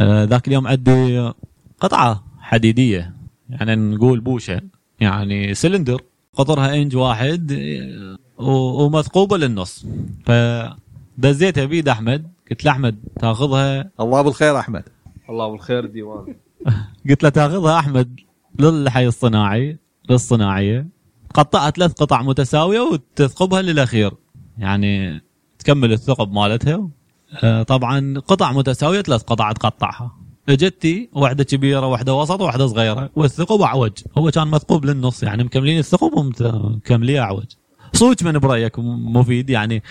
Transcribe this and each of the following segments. آه، ذاك اليوم عندي قطعه حديديه يعني نقول بوشه يعني سلندر قطرها انج واحد آه، و- ومثقوبه للنص فدزيتها بيد احمد قلت له احمد تاخذها الله بالخير احمد الله بالخير ديوان قلت له تاخذها احمد للحي الصناعي للصناعيه قطعها ثلاث قطع متساويه وتثقبها للاخير يعني تكمل الثقب مالتها آه، طبعا قطع متساويه ثلاث قطع تقطعها اجتي واحده كبيره واحده وسط وواحده صغيره والثقب اعوج هو كان مثقوب للنص يعني مكملين الثقب ومكمليه اعوج صوت من برايك م- مفيد يعني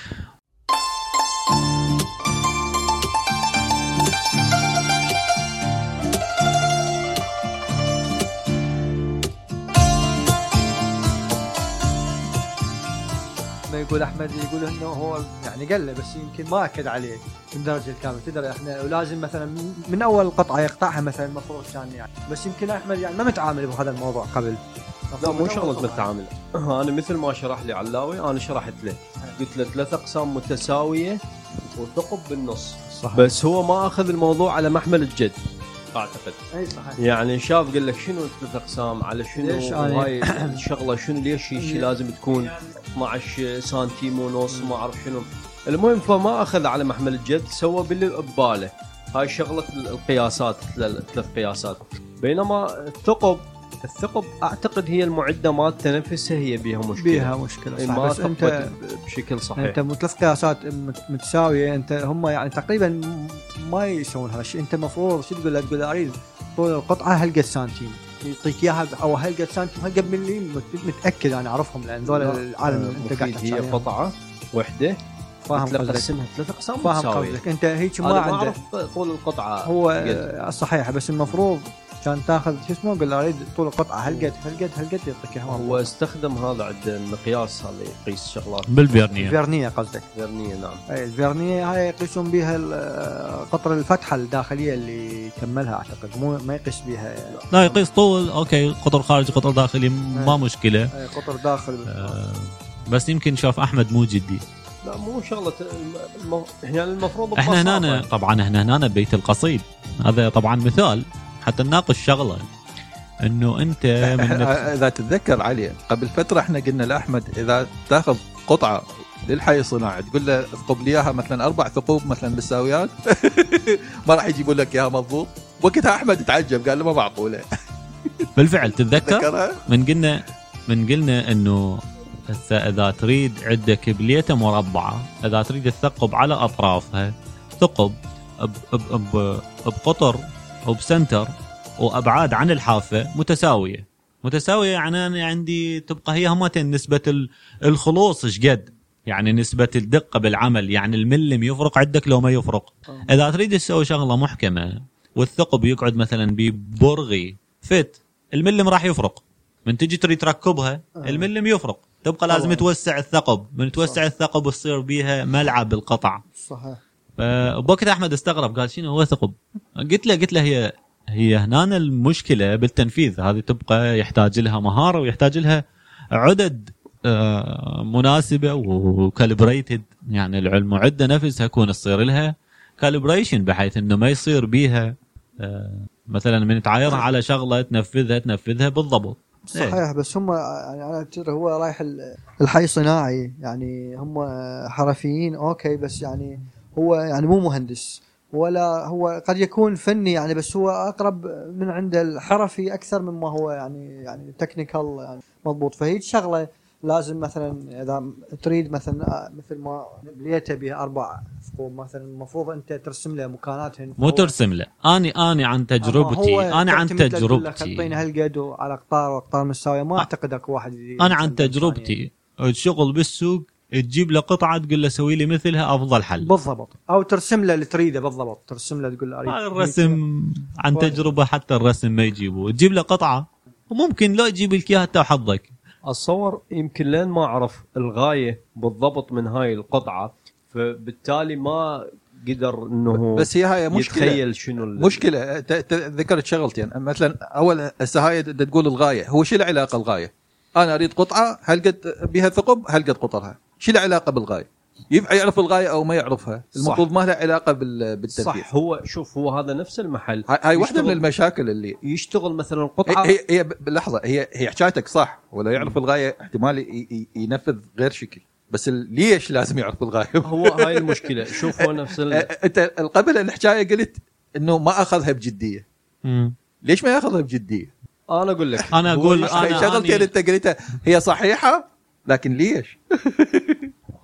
ما يقول احمد يقول انه هو يعني قال له بس يمكن ما اكد عليه بالدرجه الكامله تدري احنا ولازم مثلا من- من اول قطعه يقطعها مثلا المفروض كان يعني بس يمكن احمد يعني ما متعامل بهذا الموضوع قبل لا مو من أول شغله قطعة. متعامله انا مثل ما شرح لي علاوي انا شرحت له قلت له ثلاث اقسام متساويه وثقب بالنص صح بس هو ما اخذ الموضوع على محمل الجد اعتقد اي صحيح يعني شاف قال لك شنو الثلاث اقسام على شنو ليش أنا- هاي الشغله شنو ليش شي لازم تكون 12 سنتيم ونص ما اعرف شنو المهم فما اخذ على محمل الجد سوى باللي بباله هاي شغله ال- القياسات الثلاث قياسات بينما الثقب الثقب اعتقد هي المعده مالته نفسها هي بيها مشكله بيها مشكله إي، صح ما بس انت ثقبت ب- بشكل صحيح انت ثلاث قياسات مت- متساويه انت هم يعني تقريبا م- ما يسوون هالشيء انت المفروض شو تقول له؟ تقول له اريد طول القطعه هالقد سنتيم يعطيك اياها ب- او هالقد سنتيم هالقد ملي مت- متاكد انا اعرفهم لان ذول لا، العالم اللي انت قاعد آه، مفيد تحكي هي عليهم. قطعه واحده فاهم تلقى قصدك قسمها ثلاث اقسام فاهم متساوية. قصدك انت هيك أنا ما عنده اعرف طول القطعه هو قد. آه، صحيح بس المفروض كان تاخذ شو اسمه قول له اريد طول القطعه هالقد هالقد هالقد يعطيك هو اياها استخدم هذا عند المقياس هذا يقيس شغلات بالبرنية الفيرنيه قصدك فيرنية نعم اي الفيرنيه هاي يقيسون بها ال- قطر الفتحه الداخليه اللي كملها اعتقد مو ما يقيس بها لا يقيس طول اوكي قطر خارجي قطر داخلي ما مشكله أي قطر داخل آه، بس يمكن شاف احمد مو جدي لا مو شغله الم... يعني المفروض احنا ببساطة. يعني. هنا طبعا احنا هنا بيت القصيد هذا طبعا مثال حتى نناقش شغله انه انت من نفس- اذا تتذكر علي قبل فتره احنا قلنا لاحمد اذا تاخذ قطعه للحي الصناعي تقول له اثقب لي اياها مثلا اربع ثقوب مثلا بالساويات ما راح يجيبوا لك اياها مضبوط وقتها احمد تعجب قال له ما معقوله بالفعل تتذكر تذكرها من قلنا من قلنا انه هسه اذا تريد عده كبليته مربعه اذا تريد تثقب على اطرافها ثقب ب- ب- ب- بقطر وبسنتر وابعاد عن الحافه متساويه متساويه يعني انا عندي تبقى هي همتين نسبه ال- الخلوص ايش قد يعني نسبه الدقه بالعمل يعني الملم يفرق عندك لو ما يفرق آه. اذا تريد تسوي شغله محكمه والثقب يقعد مثلا ببرغي فت الملم راح يفرق من تجي تريد تركبها الملم يفرق تبقى لازم طبعاً. توسع الثقب من توسع الثقب يصير بيها ملعب القطع صحيح فبوقت احمد آه، استغرب قال شنو هو ثقب قلت له قلت له هي هي هنا المشكله بالتنفيذ هذه تبقى يحتاج لها مهاره ويحتاج لها عدد آه، مناسبه وكالبريتد يعني المعده نفسها يكون تصير لها كالبريشن بحيث انه ما يصير بيها آه، مثلا من تعايرها على شغله تنفذها تنفذها بالضبط إيه. صحيح بس هم يعني انا ترى هو رايح ال- الحي صناعي يعني هم حرفيين اوكي بس يعني هو يعني مو مهندس ولا هو قد يكون فني يعني بس هو اقرب من عند الحرفي اكثر مما هو يعني يعني تكنيكال يعني مضبوط فهي شغله لازم مثلا اذا تريد مثلا مثل ما بليته بها اربع ثقوب مثلا المفروض انت ترسم له مكاناتهن مو فهو- ترسم له اني اني عن هو تجربتي انا عن تعتمد لك كله تجربتي خطين هالقد وعلى قطار واقطار متساويه ما اعتقد اكو واحد يجي انا عن يسلم ثانية. تجربتي الشغل بالسوق تجيب له قطعه تقول له سوي لي مثلها افضل حل بالضبط او ترسم له اللي تريده بالضبط ترسم له تقول له أريد هذا الرسم عن ولا. تجربه حتى الرسم ما يجيبه تجيب له قطعه وممكن لا يجيب لك اياها حتى وحظك اتصور يمكن لين ما اعرف الغايه بالضبط من هاي القطعه فبالتالي ما قدر انه بس هي هاي مشكله يتخيل شنو ال- مشكله ت- ت- ذكرت شغلتين مثلا اول هسه هاي د- تقول الغايه هو شو العلاقه الغايه؟ انا اريد قطعه هل قد بها ثقب هل قد قطرها؟ شو العلاقه بالغايه؟ يبقى يعرف الغايه او ما يعرفها صح. المفروض ما لها علاقه بال- بالتنفيذ صح هو شوف هو هذا نفس المحل هاي- هاي واحده يشتغل- من المشاكل اللي يشتغل مثلا هي قطعه هي, هي ب- لحظه هي هي حكايتك صح ولا يعرف الغايه احتمال ي- ي- ينفذ غير شكل بس ال- ليش لازم يعرف الغايه؟ هو هاي المشكله شوف هو نفس ال- انت قبل الحكايه قلت انه ما اخذها بجديه مم. ليش ما ياخذها بجديه؟ انا اقول لك انا اقول انا شغلتي اللي أني- انت قلتها يعني هي صحيحه لكن ليش؟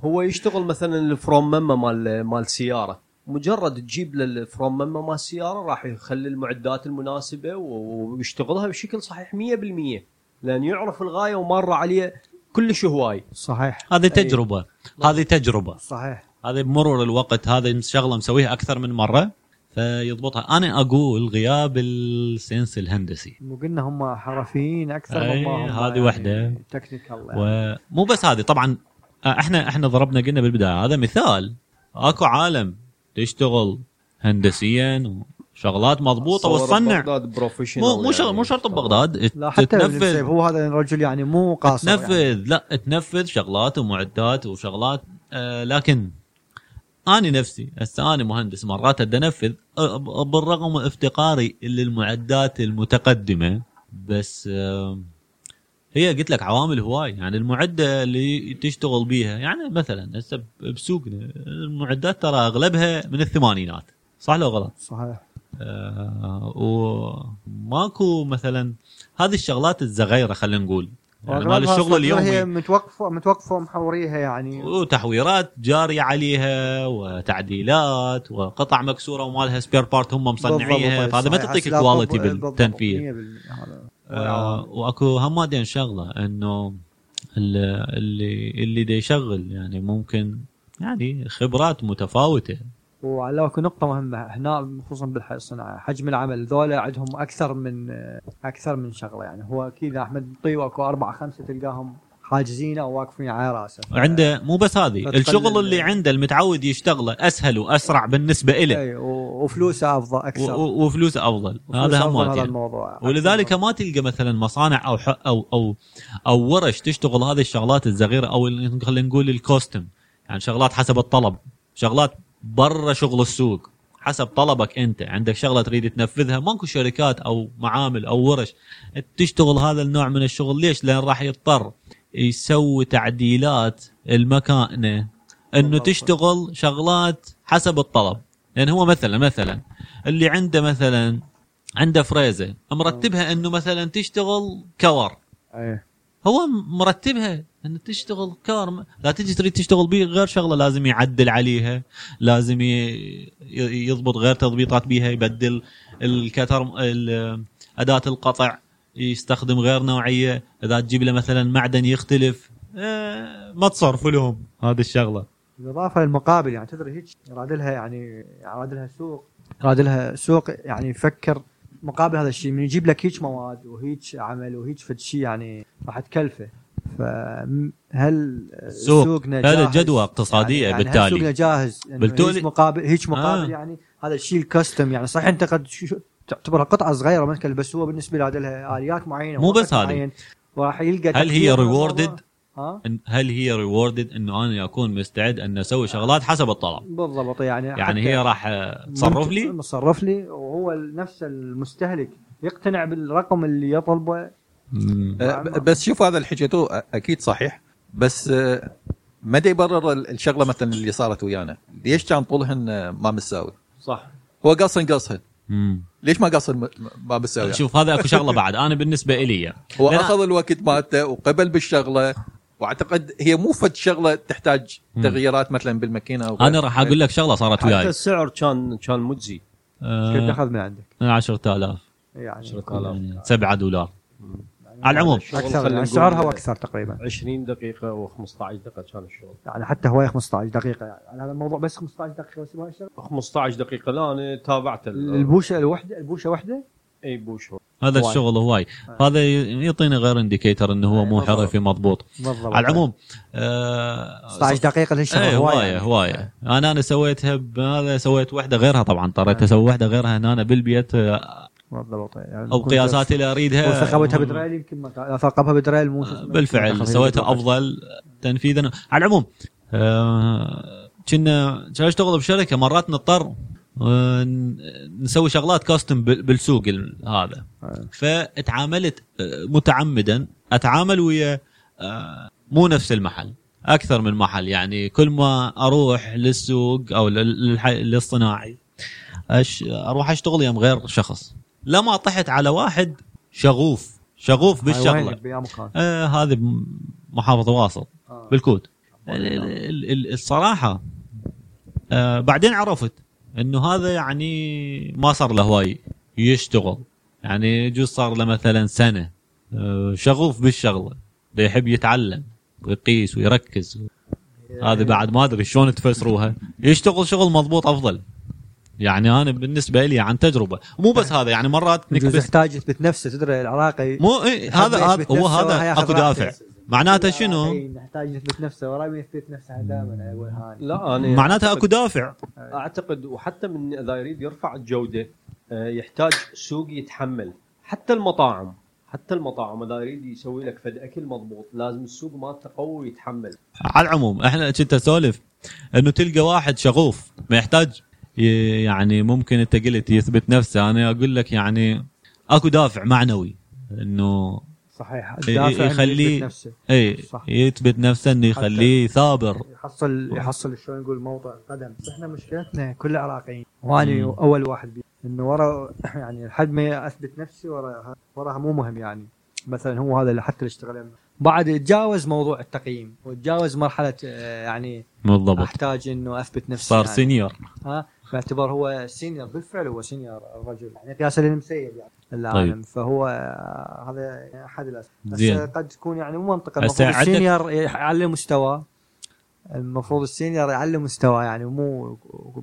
هو يشتغل مثلا الفروم مما مال مال سياره مجرد تجيب له الفروم مما مال السياره راح يخلي المعدات المناسبه و- ويشتغلها بشكل صحيح 100% لان يعرف الغايه ومر عليه كلش هواي صحيح هذه تجربه هذه تجربه صحيح هذا بمرور الوقت هذا شغله مسويها اكثر من مره فيضبطها انا اقول غياب السنس الهندسي مو قلنا هم حرفيين اكثر أي، من ما هم هذه يعني وحدة. تكنيكال يعني. ومو بس هذه طبعا احنا احنا ضربنا قلنا بالبدايه هذا مثال اكو عالم تشتغل هندسيا وشغلات مضبوطه صور وتصنع بغداد يعني؟ بروفيشنال مو مو شغل مو شرط ببغداد لا حتى ابن تتنفذ سيف هو هذا الرجل يعني مو قاصر تنفذ يعني. لا تنفذ شغلات ومعدات وشغلات آه لكن اني نفسي هسه انا مهندس مرات أد انفذ آه، ب- بالرغم من افتقاري للمعدات المتقدمه بس آه هي قلت لك عوامل هواي يعني المعده اللي تشتغل بيها يعني مثلا هسه ب- بسوقنا المعدات ترى اغلبها من الثمانينات صح لو غلط؟ صحيح آه وماكو مثلا هذه الشغلات الزغيره خلينا نقول يعني مال وأغلبها الشغل أصلاً هي اليومي متوقفه متوقفه ومحوريها يعني وتحويرات جاريه عليها وتعديلات وقطع مكسوره ومالها سبير بارت هم مصنعيها بالضبط، فهذا ما صحيح. تعطيك أسلاك كواليتي بالضبط، بالتنفيذ 100% هذا. آه واكو هم بعدين شغله انه ال- اللي اللي دا يشغل يعني ممكن يعني خبرات متفاوته وعلى اكو نقطة مهمة هنا خصوصا بالحي الصناعة حجم العمل ذولا عندهم أكثر من أكثر من شغلة يعني هو أكيد أحمد مطيو أكو أربعة خمسة تلقاهم حاجزين أو واقفين على راسه عنده مو بس هذه فتقلل- الشغل اللي عنده المتعود يشتغله اسهل واسرع بالنسبه له أي، إيه، و- وفلوسه أفضل و- أكثر و- وفلوس افضل وفلوس هذا هم أفضل هذا يعني. الموضوع ولذلك ما تلقى مثلا مصانع او ح- او او او ورش تشتغل هذه الشغلات الصغيره او ال- خلينا نقول الكوستم يعني شغلات حسب الطلب شغلات برا شغل السوق حسب طلبك انت عندك شغله تريد تنفذها ماكو شركات او معامل او ورش تشتغل هذا النوع من الشغل ليش؟ لان راح يضطر يسوي تعديلات المكانه انه بالضبط. تشتغل شغلات حسب الطلب لان هو مثلا مثلا اللي عنده مثلا عنده فريزه مرتبها انه مثلا تشتغل كور أي. هو مرتبها انه تشتغل كور م- لا تجي تريد تشتغل بيه غير شغله لازم يعدل عليها لازم ي- ي- يضبط غير تضبيطات بيها يبدل الكتر ال- اداه القطع يستخدم غير نوعيه اذا تجيب له مثلا معدن يختلف آه، ما تصرف لهم هذه الشغله بالإضافة للمقابل يعني تدري هيك يراد لها يعني يراد لها سوق يراد لها سوق يعني يفكر مقابل هذا الشيء من يجيب لك هيك مواد وهيك عمل وهيك فد شيء يعني راح تكلفه فهل السوق. سوقنا هل جاهز؟ جدوى اقتصادية يعني هل بالتالي؟ سوقنا جاهز يعني بالتالي- هيك مقابل هيك مقابل آه. آه. يعني هذا الشيء الكاستم يعني صحيح انت قد شو- شو- تعتبرها قطعه صغيره مثلا بس هو بالنسبه له لها اليات معينه مو بس ووقت هذه. معين، وراح يلقى هل هي تأثير على الموضوع. rewarded؟ ها إن- هل هي ريوردد انه انا اكون مستعد ان اسوي شغلات حسب الطلب بالضبط يعني يعني هي راح آه، تصرف لي تصرف لي وهو نفس المستهلك يقتنع بالرقم اللي يطلبه مم. آه، ب- بس شوف هذا اللي حكيته أ- اكيد صحيح بس آه، ما دا يبرر ال- الشغله مثلا اللي صارت ويانا ليش كان طولهن آه، ما مساوي صح هو قصن قصهن مم. ليش ما قصن م- ما مساوي شوف هذا اكو شغله بعد انا بالنسبه الي هو لأن- اخذ الوقت مالته وقبل بالشغله واعتقد هي مو فد شغله تحتاج مم. تغييرات مثلا بالماكينه او انا راح اقول لك شغله صارت حتى وياي السعر كان كان مجزي كنت آه اخذ من عندك 10000 يعني 7 دولار على العموم اكثر يعني سعرها اكثر تقريبا 20 دقيقه و15 دقيقه كان الشغل يعني حتى هواي 15 دقيقه يعني على هذا الموضوع بس 15 دقيقه بس ما يشتغل 15 دقيقه لا انا تابعت ال- البوشه الوحده البوشه وحده اي بوشو هذا هواي. الشغل هواي هذا ي- يعطينا غير انديكيتر انه هو مو حرفي مضبوط بالضبط على العموم آه، 15 دقيقه ايه للشغل هوايه هوايه انا انا سويتها ب- انا سويت واحده غيرها طبعا اضطريت اسوي واحده غيرها هنا أنا بالبيت آه، بالضبط يعني او قياسات اللي اريدها ثقبتها بدريل يمكن ما ثقبها بدريل مو شو اسمه. بالفعل ثقبها سويتها بدريل. افضل تنفيذا على العموم آه، كنا كنا اشتغل بشركه مرات نضطر آه، ن- نسوي شغلات كاستم بال- بالسوق ال- هذا فتعاملت آه، متعمدا اتعامل ويا آه، مو نفس المحل اكثر من محل يعني كل ما اروح للسوق او لل- للح- للصناعي أش... اروح اشتغل يم غير شخص لما طحت على واحد شغوف شغوف بالشغله بيا مكان آه هذه محافظه واسط آه. بالكود ال- ال- ال- الصراحه آه بعدين عرفت انه هذا يعني ما صار له هواي يشتغل يعني يجوز صار له مثلا سنه آه شغوف بالشغله ده يحب يتعلم ويقيس ويركز هذه بعد ما ادري شلون تفسروها يشتغل شغل مضبوط افضل يعني انا بالنسبه لي عن تجربه مو بس هذا يعني مرات يجوز نكبس يحتاج يثبت نفسه تدري العراقي مو إيه هذا هذا- يثبت هو نفسه هذا وهياخذ اكو راحته. دافع معناته شنو؟ العراقي يحتاج يثبت نفسه ورا يثبت نفسه دائما على أول هاني. لا انا معناتها اكو دافع اعتقد وحتى من اذا يريد يرفع الجوده آه، يحتاج سوق يتحمل حتى المطاعم حتى المطاعم اذا يريد يسوي لك فد اكل مضبوط لازم السوق مالته قوي يتحمل على العموم احنا كنت اسولف انه تلقى واحد شغوف ما يحتاج ي- يعني ممكن انت قلت يثبت نفسه انا اقول لك يعني اكو دافع معنوي انه صحيح إيه، الدافع إنه يخليه- يثبت نفسه اي صح. إيه، يثبت نفسه انه يخليه ثابر يحصل يحصل شلون نقول موضع قدم بس احنا مشكلتنا كل عراقيين وانا اول واحد بي انه ورا يعني لحد ما اثبت نفسي ورا وراها مو مهم يعني مثلا هو هذا اللي حتى اللي اشتغل يمه. بعد اتجاوز موضوع التقييم وتجاوز مرحله آه، يعني بالضبط احتاج انه اثبت نفسي صار يعني. سينيور ها باعتبار هو سينيور بالفعل هو سينيور الرجل يعني قياسا للمسيب يعني العالم طيب. فهو آه، هذا احد الاسباب بس زين. آه، قد تكون يعني مو منطقه هسه المفروض عندك- السينيور يعلي مستواه المفروض السينيور يعلي مستواه يعني مو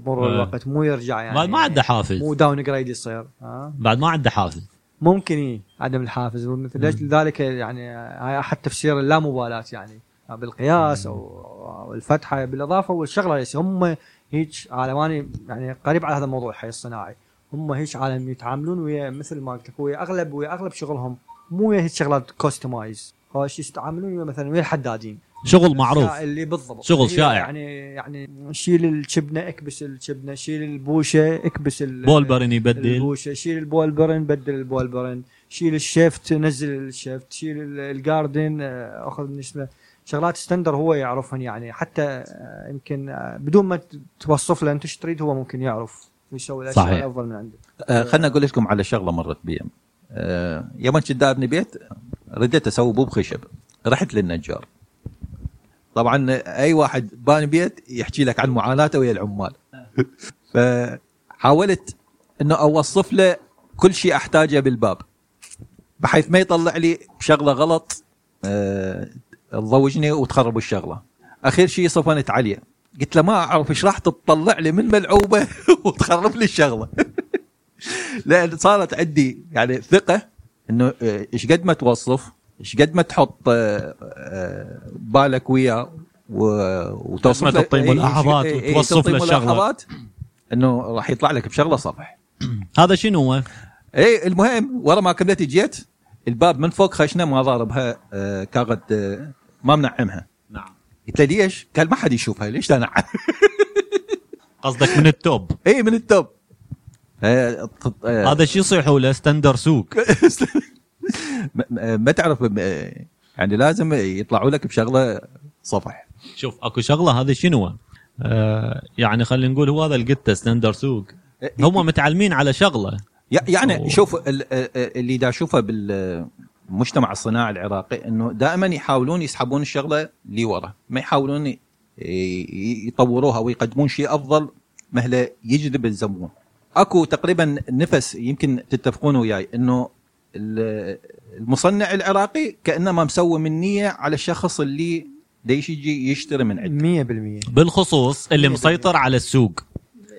مرور آه. الوقت مو يرجع يعني بعد ما عنده مو حافز داون جريد يصير آه. ها بعد ما عنده حافز ممكن إيه عدم الحافز ومثل ليش ذلك يعني هاي احد تفسير اللامبالاه يعني بالقياس او أو الفتحه بالاضافه والشغله ليش هم هيك عالماني يعني قريب على هذا الموضوع الحي الصناعي هم هيك عالم يتعاملون ويا مثل ما قلت لك ويا اغلب ويا اغلب شغلهم مو ويا هيك شغلات كوستمايز هوش يتعاملون ويا مثلا ويا الحدادين شغل معروف اللي بالضبط شغل هي شائع. يعني يعني شيل الشبنه اكبس الشبنه شيل البوشه اكبس ال- بولبرين يبدل البوشه شيل البول برن بدل البول برن شيل الشيفت نزل الشيفت شيل ال- الجاردن آه، اخذ من اسمه شغلات ستندر هو يعرفهن يعني حتى آه، يمكن آه، بدون ما ت- توصف له انت ايش تريد هو ممكن يعرف ويسوي الاشياء صحيح. صحيح. الافضل من عنده آه، خلنا اقول لكم على شغله مرت بي آه، يوم كنت دارني بيت رديت اسوي بوب خشب رحت للنجار طبعا اي واحد باني بيت يحكي لك عن معاناته ويا العمال فحاولت انه اوصف له كل شيء احتاجه بالباب بحيث ما يطلع لي شغله غلط آه، تضوجني وتخرب الشغله اخر شيء صفنت عليه قلت له ما اعرف ايش راح تطلع لي من ملعوبه وتخرب لي الشغله لان صارت عندي يعني ثقه انه آه، ايش قد ما توصف ايش قد ما تحط آه، آه، بالك وياه و- وتوصف ما له- تطيب إيه، إيش- ملاحظات إيه، إيه، وتوصف له تطيب الشغلة. ملاحظات، انه راح يطلع لك بشغله صفح هذا شنو هو؟ اي إيه، المهم ورا ما كملت جيت الباب من فوق خشنه ما ضاربها آه، كاغد آه، ما منعمها نعم قلت له ليش؟ قال ما حد يشوفها ليش لا نعم؟ قصدك من التوب اي إيه، من التوب آه، ط- آه، هذا شو يصيحوا له ستاندر سوق م- م- ما تعرف آه، يعني لازم يطلعوا لك بشغله صفح شوف اكو شغله هذه شنو آه يعني خلينا نقول هو هذا اللي قلته ستاندر سوق إيه، هم متعلمين على شغله ي- أوه. يعني شوف ال- آه، آه، اللي دا اشوفه بالمجتمع الصناعي العراقي انه دائما يحاولون يسحبون الشغله لورا ما يحاولون ي- ي- يطوروها ويقدمون شيء افضل مهله يجذب الزبون اكو تقريبا نفس يمكن تتفقون وياي انه ال- المصنع العراقي كانما مسوي من نيه على الشخص اللي ديش يجي يشتري من عنده 100% بالخصوص اللي إيه، مسيطر على السوق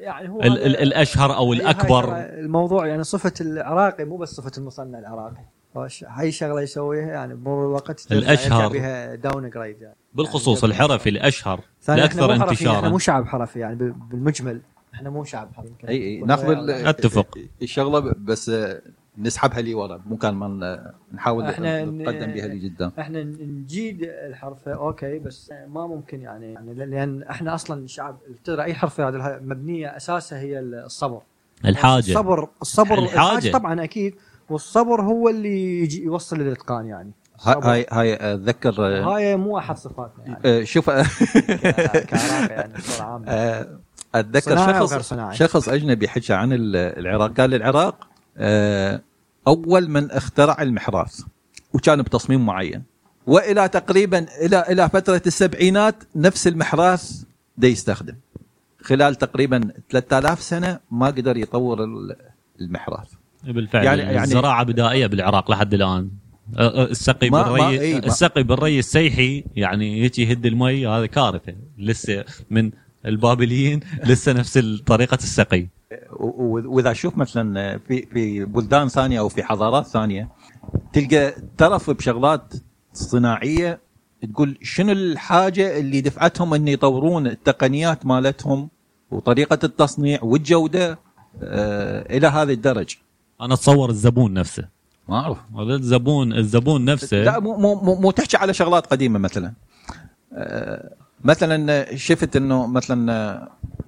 يعني هو ال- ال- الاشهر إيه، او الاكبر الموضوع يعني صفه العراقي مو بس صفه المصنع العراقي هوش- هاي شغله يسويها يعني بمرور الوقت ترجع- الأشهر. يرجع بها داون جريد يعني. بالخصوص الحرفي الاشهر ثاني احنا الاكثر مو حرفي، احنا انتشارا مو شعب حرفي يعني بال- بالمجمل احنا مو شعب يعني حرفي اي اي ناخذ ال- أتفق. الشغله بس آه، نسحبها لي ورا مكان ما نحاول إحنا ن- نتقدم بها لقدام احنا نجيد الحرفه اوكي بس ما ممكن يعني, يعني لان احنا اصلا شعب ترى اي حرفه هذه الح- مبنيه اساسها هي الصبر الحاجه الصبر الصبر الحاجة. الحاجة. طبعا اكيد والصبر هو اللي يجي يوصل للاتقان يعني الصبر. هاي هاي اتذكر آه، هاي مو احد صفاتنا يعني آه، شوف آه، ك- كعراقي يعني بصوره عامه آه، اتذكر صناعي وغير شخص صناعي شخص اجنبي حكى عن ال- العراق قال العراق آه، اول من اخترع المحراث وكان بتصميم معين والى تقريبا الى الى فتره السبعينات نفس المحراث دا يستخدم خلال تقريبا 3000 سنه ما قدر يطور ال- المحراث بالفعل يعني يعني- يعني- الزراعه بدائيه بالعراق لحد الان أ- أ- السقي ما- ما- بالري إي، ما- السقي بالري السيحي يعني يجي يهد المي هذا كارثه لسه من البابليين لسه نفس ال- طريقه السقي و- و- واذا اشوف مثلا في في بلدان ثانيه او في حضارات ثانيه تلقى ترف بشغلات صناعيه تقول شنو الحاجه اللي دفعتهم ان يطورون التقنيات مالتهم وطريقه التصنيع والجوده آه الى هذه الدرجه انا اتصور الزبون نفسه ما اعرف الزبون الزبون لا نفسه مو مو مو, مو تحكي على شغلات قديمه مثلا آه، مثلا شفت انه مثلا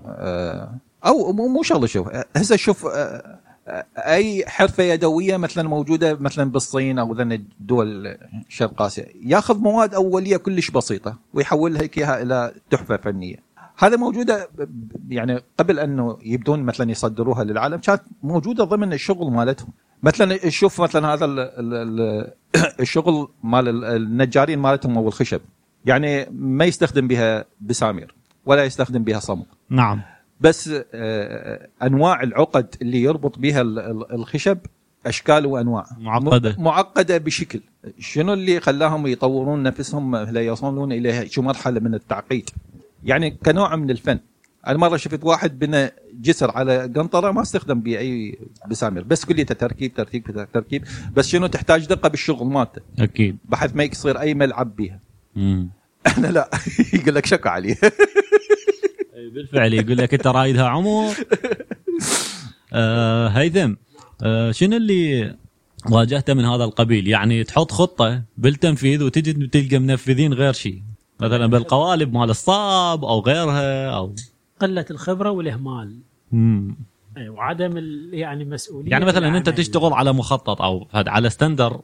آه، او مو مو شغله شوف آه، هسه شوف آه، آه، اي حرفه يدويه مثلا موجوده مثلا بالصين او ذن الدول شرق اسيا ياخذ مواد اوليه كلش بسيطه ويحولها هيك إياها الى تحفه فنيه هذا موجوده ب- ب- يعني قبل انه يبدون مثلا يصدروها للعالم كانت موجوده ضمن الشغل مالتهم مثلا شوف مثلا هذا ال ال ال الشغل مال ال- النجارين مالتهم او الخشب يعني ما يستخدم بها بسامير ولا يستخدم بها صمغ نعم بس آه، انواع العقد اللي يربط بها ال- ال- الخشب اشكال وانواع معقدة. م- معقده بشكل شنو اللي خلاهم يطورون نفسهم ليصلون الى شو مرحله من التعقيد يعني كنوع من الفن انا مره شفت واحد بنى جسر على قنطره ما استخدم به اي بسامير بس كليته تركيب تركيب تركيب بس شنو تحتاج دقه بالشغل مالته اكيد بحيث ما يصير اي ملعب بيها مم. انا لا يقول لك شكو علي بالفعل يقول لك انت رايدها عمر آه هيثم آه شنو اللي واجهته من هذا القبيل يعني تحط خطه بالتنفيذ وتجي تلقى منفذين غير شيء مثلا بالقوالب مال الصاب او غيرها او قله الخبره والاهمال مم. أي، إيه، وعدم ال- يعني مسؤوليه يعني مثلا انت العمل. تشتغل على مخطط او هذا على ستندر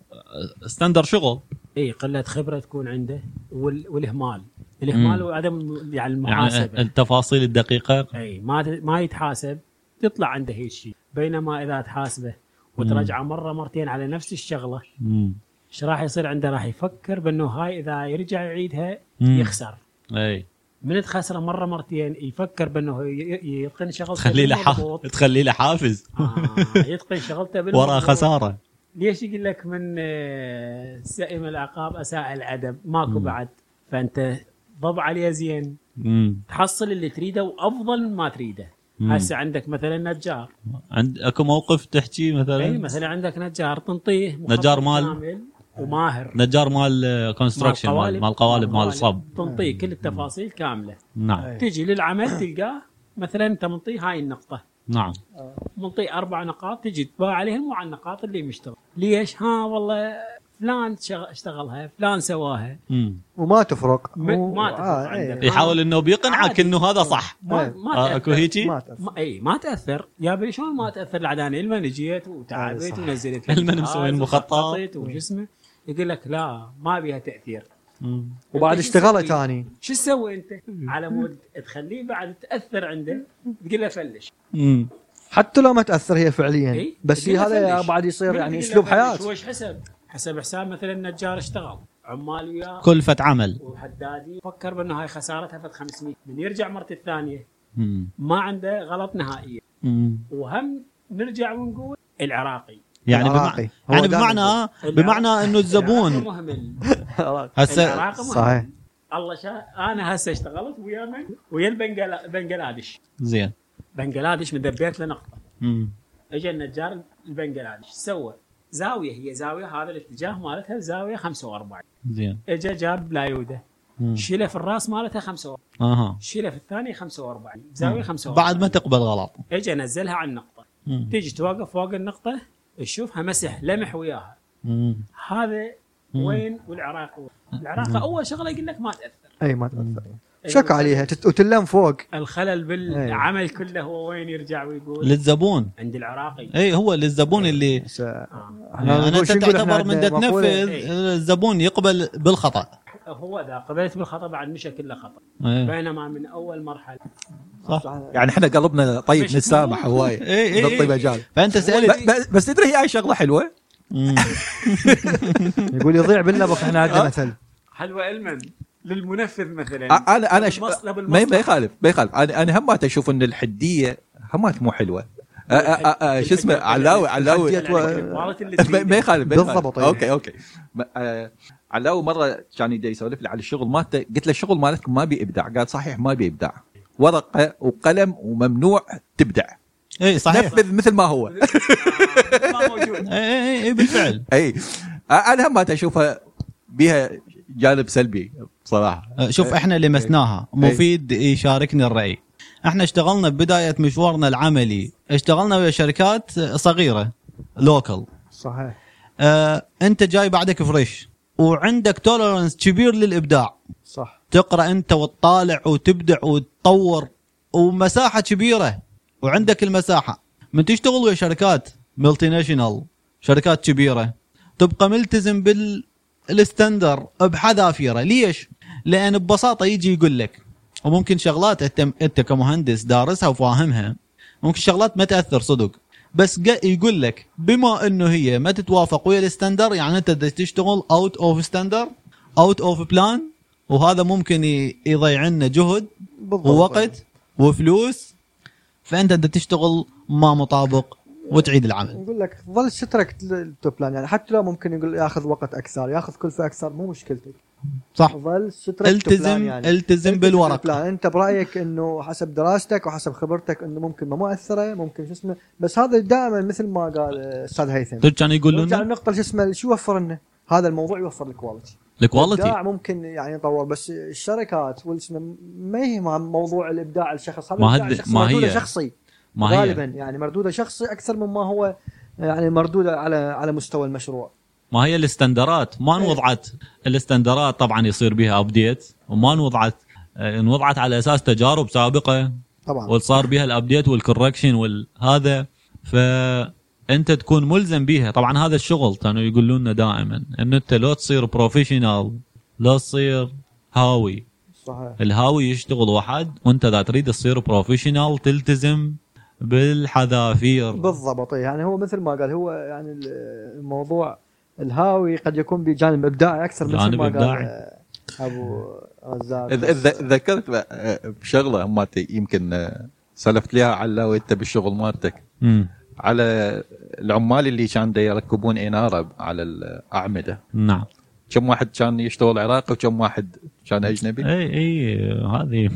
ستندر شغل اي قله خبره إيه، تكون عنده وال... والاهمال الاهمال مم. وعدم الم- يعني المحاسبه يعني التفاصيل الدقيقه اي ما ت- ما يتحاسب تطلع عنده هيك شيء بينما اذا تحاسبه وترجعه مره مرتين على نفس الشغله مم. ايش راح يصير عنده راح يفكر بانه هاي اذا يرجع يعيدها مم. يخسر اي من تخسره مره مرتين يفكر بانه ي- ي- يتقن شغلته تخلي له حا- بالمضبوط. تخلي له حافز آه، يتقن شغلته وراء بالمضبوط. خساره ليش يقول لك من آه، سئم العقاب اساء الادب ماكو مم. بعد فانت ضب عليه زين مم. تحصل اللي تريده وافضل من ما تريده مم. هسه عندك مثلا نجار عند اكو موقف تحكي اي مثلا مثلا عندك نجار تنطيه مخطط نجار مال- كامل وماهر نجار مال كونستراكشن مال مال القوالب مال الصب تنطيه كل التفاصيل كامله نعم تجي للعمل تلقاه مثلا انت منطيه هاي النقطه نعم منطيه اربع نقاط تجي تباع عليهم وعلى النقاط اللي مشتغل ليش ها والله فلان شغ- اشتغلها فلان سواها مم. وما تفرق ما- مو- ما تفرق آه، عندنا. إيه. يحاول انه بيقنعك عادي. انه هذا صح ما, إيه. ما آه، تأثر. اكو هيجي ما تأثر. ما اي ما تاثر يا بي شلون ما تاثر العداني المن جيت آه، وتعبت صح. إيه. ونزلت المن الجهاز مسوين مخطط. وخططت وجسمه يقول لك لا ما بيها تاثير مم. وبعد أنت شو تسوي؟ اشتغلت ثاني شو تسوي انت؟ على مود تخليه بعد تاثر عنده تقول له فلش مم. حتى لو ما تاثر هي فعليا إي، إيه. بس هي تقول له هذا يا فلش. بعد يصير من يعني تقول له اسلوب فلش؟ حياه هو ايش حسب؟ حسب حساب مثلا نجار اشتغل عمال وياه كلفة عمل وحدادي فكر بانه هاي خسارتها فد 500 من يرجع مرة الثانيه مم. ما عنده غلط نهائيا مم. وهم نرجع ونقول العراقي يعني العراقي. بمعنى هو يعني دائماً بمعنى العراقي- بمعنى انه العراقي الزبون مهمل هسه العراق مهمل. صحيح الله شا انا هسه اشتغلت ويا من؟ ويا البنغلا- بنغلاديش زين بنغلاديش مدبيت له نقطه مم. اجى النجار البنغلاديش ايش سوى؟ زاويه هي زاويه هذا الاتجاه مالتها زاويه 45 زين اجى جاب لايوده مم. شيله في الراس مالتها 45 اها شيله في الثاني 45 زاويه 45 آه. بعد ما تقبل غلط اجى نزلها على النقطه مم. تيجي توقف فوق النقطه تشوفها مسح لمح وياها مم. هذا مم. وين والعراق وين. العراق اول شغله يقول لك ما تاثر اي ما تاثر أي شك عليها تت- وتلم فوق الخلل إيه. بالعمل أيوه. كله هو وين يرجع ويقول للزبون عند العراقي اي هو للزبون اللي بس آه، آه. إحنا يعني نقول انت شو نقول إحنا تعتبر من عندنا مقولة؟ تنفذ إيه. الزبون يقبل بالخطا هو اذا قبلت بالخطا بعد مشى كله خطا اي بينما من اول مرحله يعني احنا قلبنا طيب مش نتسامح هواي إيه، اي نعطي إي. مجال فانت سالت ب- ب- بس تدري هي هاي شغله حلوه مم. يقول يضيع باللبق احنا آه. عندنا مثل حلوى علما للمنفذ مثلا يعني أ- انا انا ش- بالمصلحة- ما ما بالمصلحة. يخالف ما يخالف انا انا همات اشوف ان الحديه همات مو حلوه أ- أ- أ- أ- شو اسمه علاوي علاوي الحدية تو- الكبارات اللي ما ما يخالف ما يخالف. بالضبط، إيه. اوكي اوكي ما- آه، علاوي مره كان يدي يسولف لي على الشغل مالته قلت له الشغل مالك ما بي ابداع قال صحيح ما بي ابداع ورقه وقلم وممنوع تبدع اي إيه، صحيح إيه، نفذ مثل ما هو آه، ما موجود اي اي اي بالفعل اي أ- انا هم ما اشوفها بها جانب سلبي بصراحه شوف احنا لمسناها مفيد يشاركني الرأي احنا اشتغلنا ببداية مشوارنا العملي اشتغلنا ويا شركات صغيرة لوكل صحيح اه انت جاي بعدك فريش وعندك تولرنس كبير للابداع صح تقرا انت وتطالع وتبدع وتطور ومساحه كبيره وعندك المساحه من تشتغل ويا شركات ملتي ناشونال شركات كبيره تبقى ملتزم بالستندر بحذافيره ليش؟ لان ببساطه يجي يقول لك وممكن شغلات انت انت كمهندس دارسها وفاهمها ممكن شغلات ما تاثر صدق بس قا- يقول لك بما انه هي ما تتوافق ويا الستاندر يعني انت بدك تشتغل اوت اوف ستاندر اوت اوف بلان وهذا ممكن ي- يضيع لنا جهد بالضبط ووقت وفلوس فانت بدك تشتغل ما مطابق وتعيد العمل يقول لك ظل سترك التوب بلان يعني حتى لو ممكن يقول ياخذ وقت اكثر ياخذ كلفه اكثر مو مشكلتك صح ظل سترك يعني. التزم التزم بالورق البلان. انت برايك انه حسب دراستك وحسب خبرتك انه ممكن ما مؤثره ممكن شو اسمه بس هذا دائما مثل ما قال آه، استاذ هيثم تدري كانوا يقولون نرجع لنا للنقطه شو اسمه شو يوفر لنا؟ هذا الموضوع يوفر الكواليتي الكواليتي الابداع ممكن يعني يطور بس الشركات والاسم ما يهمها موضوع الابداع الشخص هذا ما الإبداع هد- الشخصي ما هي- ما مردوده شخصي غالبا هي يعني مردوده شخصي اكثر مما هو يعني مردوده على على مستوى المشروع ما هي الاستندرات ما انوضعت الاستندرات طبعا يصير بها ابديت وما انوضعت آه، انوضعت على اساس تجارب سابقه طبعا وصار بها الابديت والكوركشن والهذا فانت تكون ملزم بيها طبعا هذا الشغل كانوا يقولون لنا دائما انه انت لو تصير بروفيشنال لا تصير هاوي صحيح الهاوي يشتغل واحد وانت اذا تريد تصير بروفيشنال تلتزم بالحذافير بالضبط إيه. يعني هو مثل ما قال هو يعني ال- الموضوع الهاوي قد يكون بجانب ابداعي اكثر مثل جانب ما قال إبداعي. آه، ابو رزاق إذ- إذ- ذكرت ب- آه، بشغله مالتي يمكن آه، سلفت لها علاوي انت بالشغل مالتك مم. على العمال اللي كان دا يركبون اناره على الاعمده نعم كم واحد كان يشتغل عراقي وكم واحد كان اجنبي اي اي إيه، هذه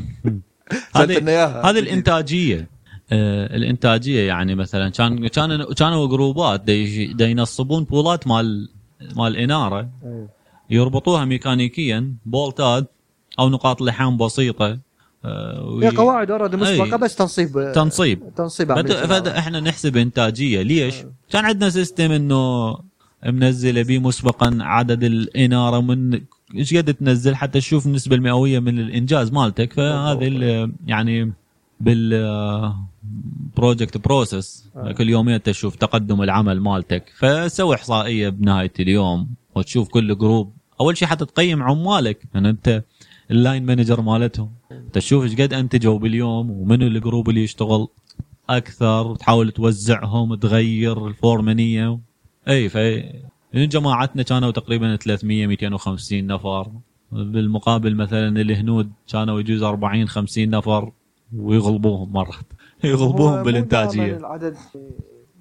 سألت لنا إياها. هذه الانتاجيه آه، الانتاجيه يعني مثلا كان كان كانوا جروبات دي, دي ينصبون بولات مال مال اناره إيه. يربطوها ميكانيكيا بولتات او نقاط لحام بسيطه آه، وي- هي قواعد اوريدي إيه. مسبقه بس تنصيب آه، تنصيب تنصيب فد- عملية فد- العمل. احنا نحسب انتاجيه ليش؟ كان عندنا سيستم انه منزله بيه مسبقا عدد الاناره من ايش قد تنزل حتى تشوف النسبه المئويه من الانجاز مالتك فهذه ال- يعني بال بروجكت بروسس كل يومين تشوف تقدم العمل مالتك فسوي احصائيه بنهايه اليوم وتشوف كل جروب اول شيء حتى تقيم عمالك يعني انت اللاين مانجر مالتهم تشوف ايش قد انتجوا باليوم ومنو الجروب اللي يشتغل اكثر تحاول توزعهم تغير الفورمانيه اي في جماعتنا كانوا تقريبا 300 250 نفر بالمقابل مثلا الهنود كانوا يجوز 40 50 نفر ويغلبوهم مرات هو يغلبوهم مو دائماً بالانتاجيه العدد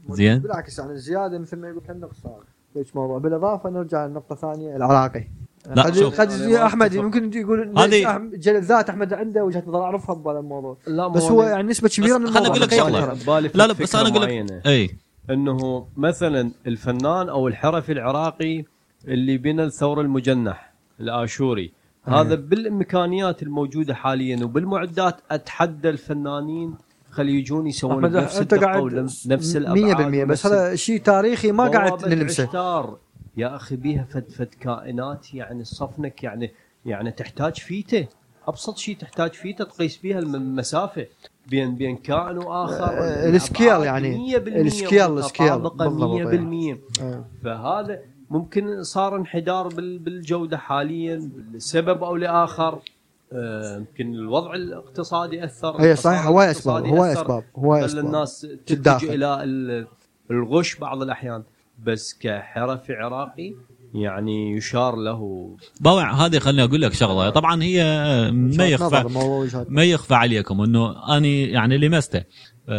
زين. بالعكس يعني الزياده مثل ما يقول كان نقصان ليش موضوع بالاضافه نرجع لنقطه ثانيه العراقي لا، قد شوف. قد يجي احمد ممكن يجي يقول إن هذه- أحمد- جل- ذات احمد عنده وجهه نظر اعرفها بهذا الموضوع لا بس هو يعني نسبه كبيره من خلنا الموضوع أقول لك ما شغلة. يتكرر. بالي يعني لا لا بس انا اقول معينة. لك اي انه مثلا الفنان او الحرفي العراقي اللي بنى الثور المجنح الاشوري هذا بالامكانيات الموجوده حاليا وبالمعدات اتحدى الفنانين خلي يجون يسوون أحمد، نفس أنت الدقه قاعد ونفس نفس الابعاد 100% ونفس بس هذا شيء تاريخي ما قاعد بوابة نلمسه عشتار. يا اخي بيها فد فد كائنات يعني صفنك يعني يعني تحتاج فيته ابسط شيء تحتاج فيته تقيس بيها الم- المسافه بين بين كائن واخر آه، السكيل الأبعاد يعني. 100% السكيل- السكيل. متطابقة بالضبط، يعني. 100% آه. فهذا ممكن صار انحدار بال- بالجوده حاليا لسبب او لاخر آه، يمكن الوضع الاقتصادي اثر هي صحيح التصارع هواي اسباب الاقتصادي هواي أثر. اسباب هواي خلى اسباب الناس تتداخل. تتجه الى ال- الغش بعض الاحيان بس كحرفي عراقي يعني يشار له باوع هذه خليني اقول لك شغله طبعا هي ما يخفى نظر، موضوع وجهات. ما يخفى عليكم انه اني يعني لمسته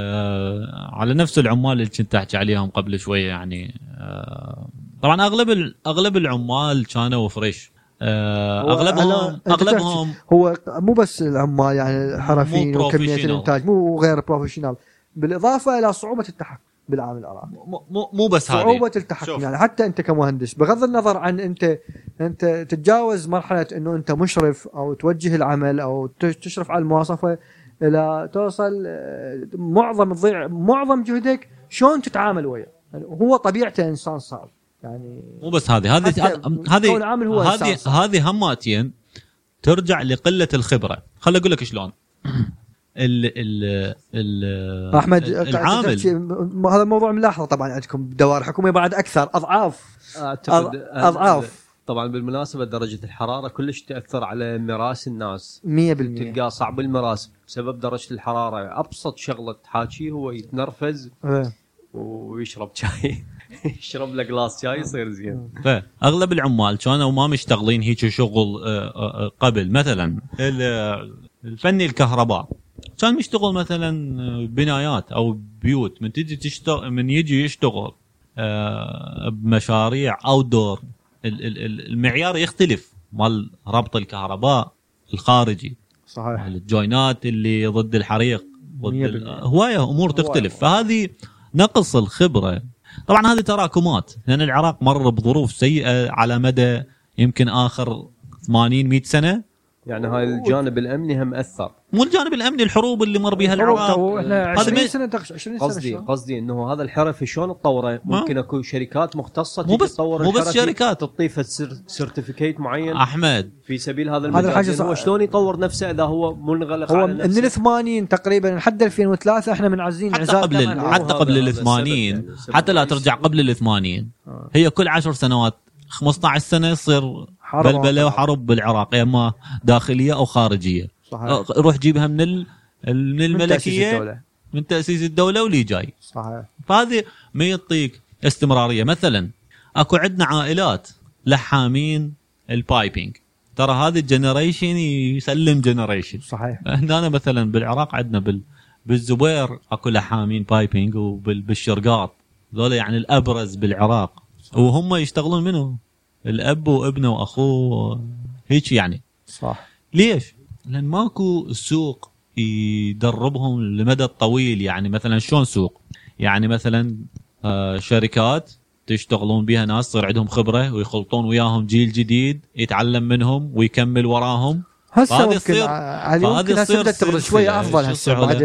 آه على نفس العمال اللي كنت احكي عليهم قبل شويه يعني آه طبعا اغلب ال- اغلب العمال كانوا فريش آه هو اغلبهم أنا- أنت اغلبهم هو مو بس العمال يعني حرفيين مو وكميه professional. الانتاج مو غير بروفيشنال بالاضافه الى صعوبه التحكم بالعامل العراقي مو- مو مو بس هذه صعوبه التحكم شوف. يعني حتى انت كمهندس بغض النظر عن انت انت تتجاوز مرحله انه انت مشرف او توجه العمل او ت- تشرف على المواصفه الى توصل آه، معظم تضيع معظم جهدك شلون تتعامل وياه يعني هو طبيعته انسان صعب يعني مو بس هذه هذه حتى هذه- قول عامل هو هذه أساس. هذه هذه هماتين ترجع لقله الخبره خل اقول لك شلون ال ال آه. ال احمد العامل تحكي- م- هذا موضوع ملاحظه طبعا عندكم بدوائر حكوميه بعد اكثر اضعاف اعتقد أض- اضعاف طبعا بالمناسبه درجه الحراره كلش تاثر على مراس الناس 100% تلقاه صعب المراس بسبب درجه الحراره ابسط شغله تحاكيه هو يتنرفز إيه. ويشرب شاي يشرب له جلاس شاي يصير زين فاغلب العمال كانوا ما مشتغلين هيك شغل آه، آه، آه، قبل مثلا ال- آه، الفني الكهرباء كان مشتغل مثلا آه، بنايات او بيوت من تجي تشتغل من يجي يشتغل آه، بمشاريع او دور ال- ال- ال- المعيار يختلف مال ربط الكهرباء الخارجي صحيح الجوينات اللي ضد الحريق ضد مية ال- بالمية. هوايه امور تختلف فهذه نقص الخبره طبعا هذه تراكمات لان العراق مر بظروف سيئه على مدى يمكن اخر 80 100 سنه يعني هاي الجانب الامني هم اثر مو الجانب الامني الحروب اللي مر بها العراق آه، هو احنا هذا 20 ما- سنه تقش- 20 سنه قصدي شلون؟ قصدي انه هذا الحرفي شلون تطوره؟ ما- ممكن اكو شركات مختصه مو تجي بس- تطور مو بس الحرفي، شركات. آه. تعطيه سيرتيفيكيت معين احمد في سبيل هذا هذا المجال الحاجة لأن صع- هو شلون يطور نفسه اذا هو منغلق هو على من نفسه؟ الثمانين تقريبا لحد 2003 احنا منعزلين حتى انعزال قبل تماما. ال- حتى هذا- قبل هذا ال السبب 80 يعني، السبب حتى لا الرئيسي. ترجع قبل ال 80 آه. هي كل 10 سنوات 15 سنه يصير حرب بلبله وحرب بالعراق يا اما داخليه او خارجيه صحيح أه، روح جيبها من ال- من من تأسيس الملكيه الدولة. من تاسيس الدوله ولي جاي صحيح فهذه ما يعطيك استمراريه مثلا اكو عندنا عائلات لحامين البايبينج ترى هذا الجنريشن يسلم جنريشن صحيح هنا مثلا بالعراق عندنا بال بالزبير اكو لحامين بايبينج وبالشرقاط ذولا يعني الابرز بالعراق وهم يشتغلون منه الاب وابنه واخوه هيك يعني صح ليش؟ لان ماكو سوق يدربهم لمدى الطويل يعني مثلا شلون سوق؟ يعني مثلا آه، شركات تشتغلون بها ناس تصير عندهم خبره ويخلطون وياهم جيل جديد يتعلم منهم ويكمل وراهم هسه فهذه ممكن تصير- هذه فهذه ممكن هسه تصير بدات تبرز سلسلة. شويه افضل شو هسه الصعوبة؟ بعد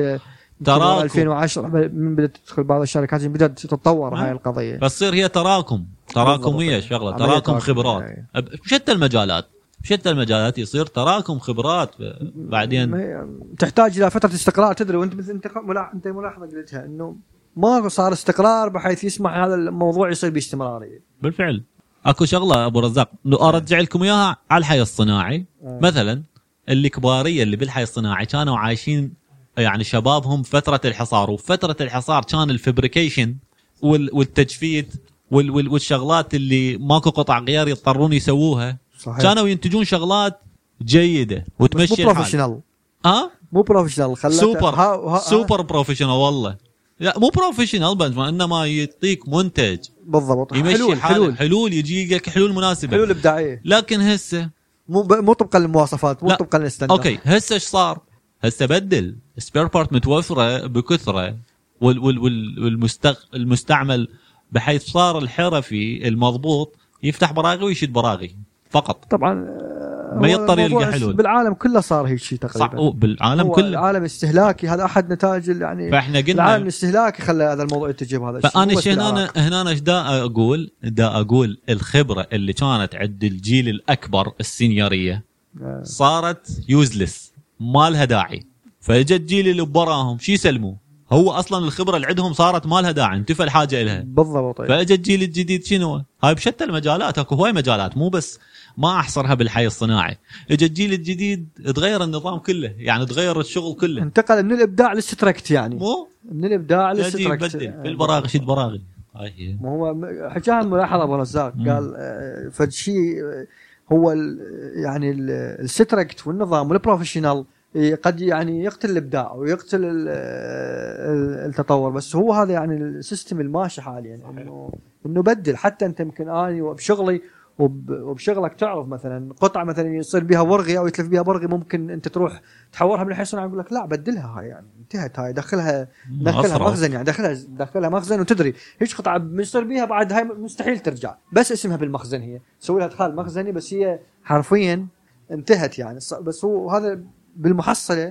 تراكم. ترى 2010 من بدات تدخل بعض الشركات بدات تتطور نعم. هاي القضيه فتصير هي تراكم تراكميه بالضبط. شغله عملية تراكم تراكم، خبرات أي. أب- بشتى المجالات بشتى المجالات يصير تراكم خبرات ب- بعدين ما- تحتاج الى فتره استقرار تدري وانت مثل انت ملاح- انت ملاحظه قلتها انه ما صار استقرار بحيث يسمح هذا الموضوع يصير باستمراريه بالفعل اكو شغله ابو رزاق إيه. لو ارجع لكم اياها على الحي الصناعي آه. مثلا الكباريه اللي بالحي الصناعي كانوا عايشين يعني شبابهم فتره الحصار وفتره الحصار كان الفبريكيشن وال- والتجفيت وال- وال- والشغلات اللي ماكو قطع غيار يضطرون يسووها صحيح كانوا ينتجون شغلات جيده بس وتمشي مو الحال بروفيشنال ها مو بروفيشنال خلته سوبر ها- ها- سوبر بروفيشنال والله لا مو بروفيشنال بس انما يعطيك منتج بالضبط يمشي نعم. حلول حلول حلول حلول يجي لك حلول مناسبه حلول ابداعيه لكن هسه مو ب- مو طبقا للمواصفات مو لا. طبقا للستاندرد اوكي هسه ايش صار؟ هسه بدل سبير بارت متوفره بكثره وال وال وال والمستغ... المستعمل بحيث صار الحرفي المضبوط يفتح براغي ويشد براغي فقط طبعا آه، ما يضطر يلقى الموضوع حلول. بالعالم كله صار هيك شيء صح تقريبا بالعالم هو كله نعم. العالم استهلاكي هذا احد نتائج ال- يعني فاحنا العالم قلنا الاستهلاكي خلى هذا الموضوع يتجه بهذا الشيء مو فانا بس شي هنا بالعراق. هنا ايش دا اقول؟ دا اقول الخبره اللي كانت عند الجيل الاكبر السنيوريه آه. صارت يوزلس ما لها داعي فاجا الجيل اللي براهم شو يسلموا؟ هو اصلا الخبره اللي عندهم صارت ما لها داعي انتفى الحاجه لها بالضبط أيوة. فاجا الجيل الجديد شنو؟ هاي بشتى المجالات اكو هواي مجالات مو بس ما احصرها بالحي الصناعي، اجى الجيل الجديد تغير النظام كله، يعني تغير الشغل كله انتقل من الابداع للستركت يعني مو؟ من الابداع يجي للستركت يبدل بالبراغي شد براغي هاي هي. ما هو م- حكاها الملاحظه ابو رزاق إيه. مم. قال آه، فشي آه، هو ال- يعني ال- الستركت والنظام والبروفيشنال آه، قد يعني يقتل الابداع ويقتل ال- ال- التطور بس هو هذا يعني السيستم الماشي حاليا انه انه بدل حتى انت يمكن اني وبشغلي وب- وبشغلك تعرف مثلا قطعه مثلا يصير بها ورغي او يتلف بيها برغي ممكن انت تروح تحورها من الحيصنة يقول لك لا بدلها هاي يعني انتهت هاي دخلها دخلها أصرف. مخزن يعني دخلها دخلها مخزن وتدري هيك قطعه بنصير بيها بعد هاي مستحيل ترجع بس اسمها بالمخزن هي تسوي لها ادخال مخزني بس هي حرفيا انتهت يعني ص- بس هو هذا بالمحصله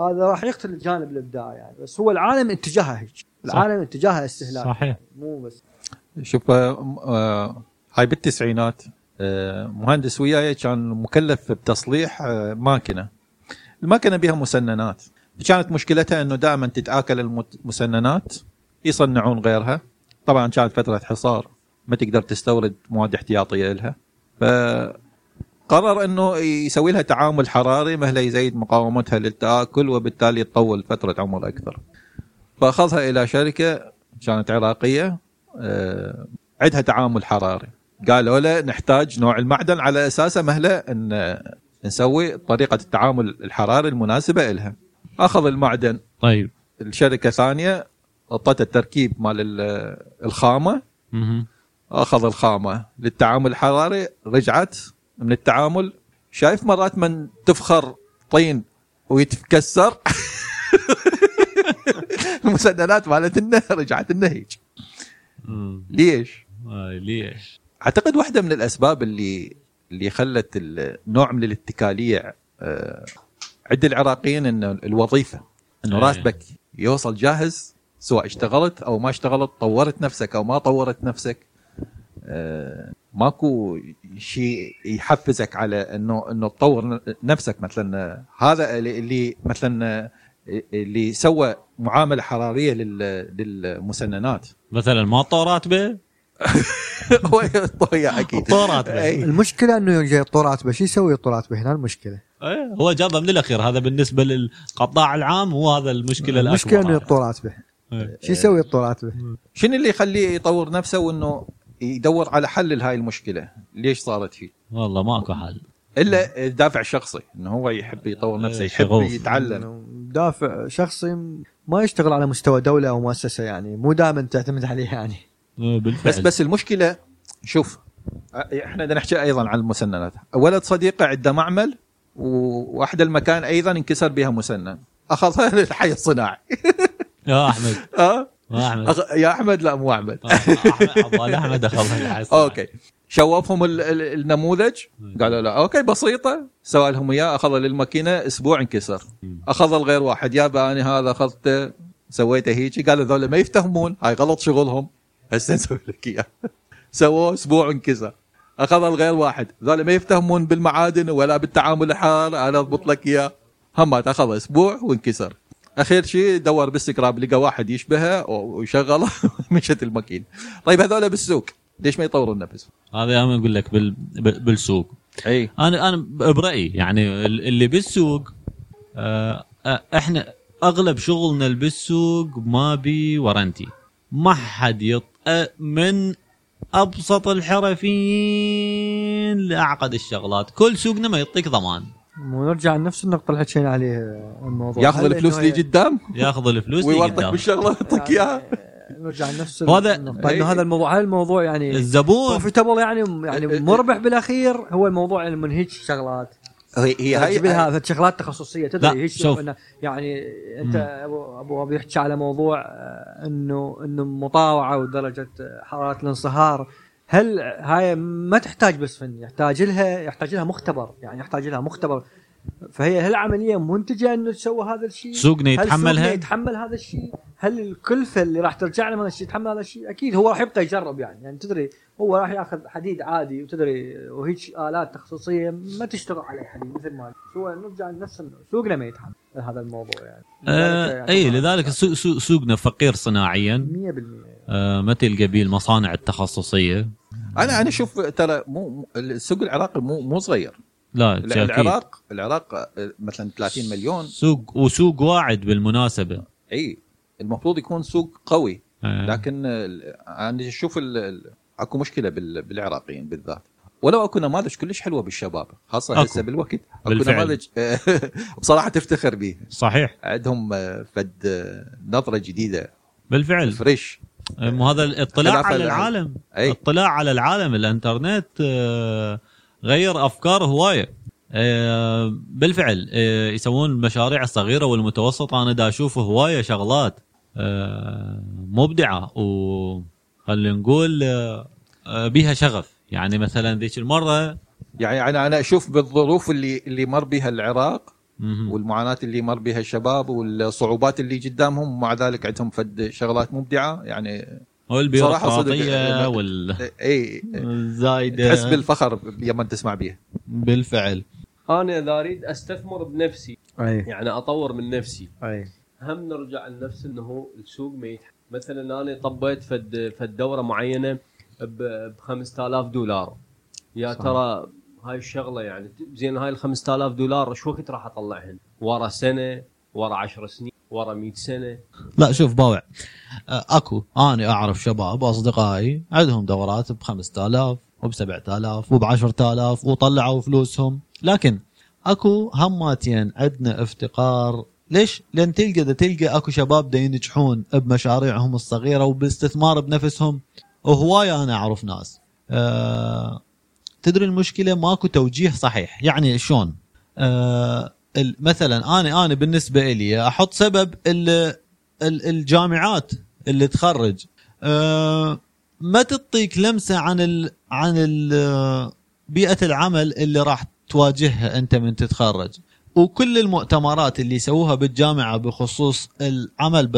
هذا راح يقتل الجانب الابداعي يعني بس هو العالم اتجاهها هيك العالم اتجاهها استهلاك صحيح مو بس شوف آه، آه، هاي بالتسعينات آه، مهندس وياي كان مكلف بتصليح آه، ماكينه الماكينه بها مسننات كانت مشكلتها انه دائما تتاكل المسننات يصنعون غيرها طبعا كانت فتره حصار ما تقدر تستورد مواد احتياطيه لها فقرر انه يسوي لها تعامل حراري مهلا يزيد مقاومتها للتاكل وبالتالي تطول فتره عمر اكثر فاخذها الى شركه كانت عراقيه آه، عندها تعامل حراري قالوا له نحتاج نوع المعدن على اساسه مهله ان نسوي طريقه التعامل الحراري المناسبه لها اخذ المعدن طيب الشركه ثانيه اعطته التركيب مال ال- الخامه مهم. اخذ الخامه للتعامل الحراري رجعت من التعامل شايف مرات من تفخر طين ويتكسر المسدلات مالت النهر رجعت لنا هيج مم. ليش؟ آه، ليش؟ اعتقد واحده من الاسباب اللي اللي خلت ال- نوع من الاتكاليه آه، عند العراقيين انه الوظيفه انه إيه. راتبك يوصل جاهز سواء اشتغلت او ما اشتغلت طورت نفسك او ما طورت نفسك آه، ماكو شيء يحفزك على انه انه تطور ن- نفسك مثلا آه، هذا اللي- اللي مثلا آه، اللي سوى معامله حراريه لل- للمسننات مثلا ما طار راتبه هو إيه. طويا اكيد طار راتبه إيه. أي. المشكله انه جاي يطور راتبه شو يسوي يطور راتبه هنا المشكله إيه، هو جابها من الاخير هذا بالنسبه للقطاع العام هو هذا المشكله الاكبر المشكله انه يطور راتبه إيه. شو يسوي يطور راتبه شنو اللي يخليه يطور نفسه وانه يدور على حل لهاي المشكله ليش صارت فيه والله ماكو حل الا الدافع الشخصي انه هو يحب يطور نفسه إيه، يحب شغوف. يتعلم إنه دافع شخصي ما يشتغل على مستوى دوله او مؤسسه يعني مو دائما تعتمد عليه يعني آه، بالفعل بس بس المشكله شوف أ- احنا بدنا نحكي ايضا عن المسننات ولد صديقه عنده معمل و- واحد المكان ايضا انكسر بها مسنن اخذها للحي الصناعي يا احمد اه يا آه، احمد أخ... يا احمد لا مو احمد احمد احمد دخل اوكي شوفهم ال- ال- النموذج قالوا لا اوكي بسيطه سوى لهم اياه اخذ للماكينه اسبوع انكسر اخذ الغير واحد يابا انا هذا اخذته سويته هيجي قالوا ذولا ما يفتهمون هاي غلط شغلهم هسه نسوي لك اياه سووه اسبوع انكسر اخذ الغير واحد ذولا ما يفتهمون بالمعادن ولا بالتعامل الحار انا اضبط لك اياه همات اخذ اسبوع وانكسر اخير شيء دور بالسكراب لقى واحد يشبهه و- وشغله مشت الماكينه طيب هذول بالسوق ليش ما يطورون نفسهم؟ هذا انا اقول لك بال... بال- بالسوق اي انا انا برايي يعني ال- اللي بالسوق آه، آه، احنا اغلب شغلنا اللي بالسوق ما بي ورنتي ما حد يط... آه، من ابسط الحرفيين لاعقد الشغلات كل سوقنا ما يعطيك ضمان ونرجع لنفس النقطة اللي حكينا عليها الموضوع ياخذ هل الفلوس إنه اللي هي- قدام ياخذ الفلوس اللي ويورطك قدام. بالشغله ويعطيك يعني- اياها نرجع لنفس هذا- هذا النقطة إيه. انه هذا الموضوع هل الموضوع يعني الزبون طيب. بروفيتبل يعني أه، يعني مربح بالاخير هو الموضوع اللي من هيك شغلات هي هي تجيب هاي أه. لها شغلات تخصصية لا، تدري هيك شوف. إنه يعني انت ابو ابو ابي أه، يحكي على موضوع آه، انه انه مطاوعة ودرجة آه، حرارة أه، الانصهار هل هاي ما تحتاج بس فن يحتاج لها يحتاج لها مختبر يعني يحتاج لها مختبر فهي هل العمليه منتجه انه تسوي هذا الشيء؟ سوقنا هل سوقنا يتحملها يتحمل هذا الشيء؟ هل الكلفه اللي راح ترجع له من الشيء يتحمل هذا الشيء؟ اكيد هو راح يبقى يجرب يعني يعني تدري هو راح ياخذ حديد عادي وتدري وهيج الات تخصصيه ما تشتغل على الحديد مثل ما هو نرجع لنفس النوع. سوقنا ما يتحمل هذا الموضوع يعني. آه إيه، اي لذلك سو- سو- سوقنا فقير صناعيا 100% آه ما تلقى بيه المصانع التخصصيه انا انا اشوف ترى مو مو- السوق العراقي مو مو صغير لا أكيد. العراق العراق آه، مثلا 30 مليون سوق وسوق واعد بالمناسبه اي المفروض يكون سوق قوي آه. لكن آه، انا اشوف ال- ال- اكو مشكله بال- بالعراقيين بالذات ولو اكو نماذج كلش حلوه بالشباب خاصه أكو. هسه بالوقت اكو بالفعل. نماذج بصراحه تفتخر به صحيح عندهم آه، فد آه، نظره جديده بالفعل آه، فريش مو هذا الاطلاع خلاف على ال- العالم أي. الاطلاع على العالم الانترنت آه، غير افكار هوايه آه، بالفعل آه، يسوون المشاريع الصغيره والمتوسطه انا دا اشوف هوايه شغلات آه، مبدعه و خلينا نقول آه، آه، بيها شغف يعني مثلا ذيك المره يعني انا انا اشوف بالظروف اللي اللي مر بها العراق مهم. والمعاناه اللي مر بها الشباب والصعوبات اللي قدامهم مع ذلك عندهم فد شغلات مبدعه يعني صراحة صدق، والبيروقراطيه آه، وال- اي تحس والزايده بالفخر لما تسمع بيها بالفعل انا اذا اريد استثمر بنفسي اي يعني اطور من نفسي اي هم نرجع لنفس انه هو السوق ما يتحمل مثلا انا طبيت فد فد دوره معينه ب 5000 دولار يا صح. ترى هاي الشغله يعني زين هاي ال 5000 دولار ايش وقت راح اطلعهن؟ ورا سنه ورا 10 سنين ورا 100 سنه لا شوف باوع آه، اكو انا اعرف شباب اصدقائي عندهم دورات ب 5000 وب 7000 وب 10000 وطلعوا فلوسهم لكن اكو هماتين عندنا افتقار ليش؟ لان تلقى دا تلقى اكو شباب دا ينجحون بمشاريعهم الصغيره وباستثمار بنفسهم وهوايه انا اعرف ناس أه تدري المشكله ماكو توجيه صحيح يعني شلون؟ أه ال- مثلا انا انا بالنسبه لي احط سبب ال- ال- الجامعات اللي تخرج أه ما تعطيك لمسه عن ال عن ال بيئه العمل اللي راح تواجهها انت من تتخرج وكل المؤتمرات اللي يسووها بالجامعه بخصوص العمل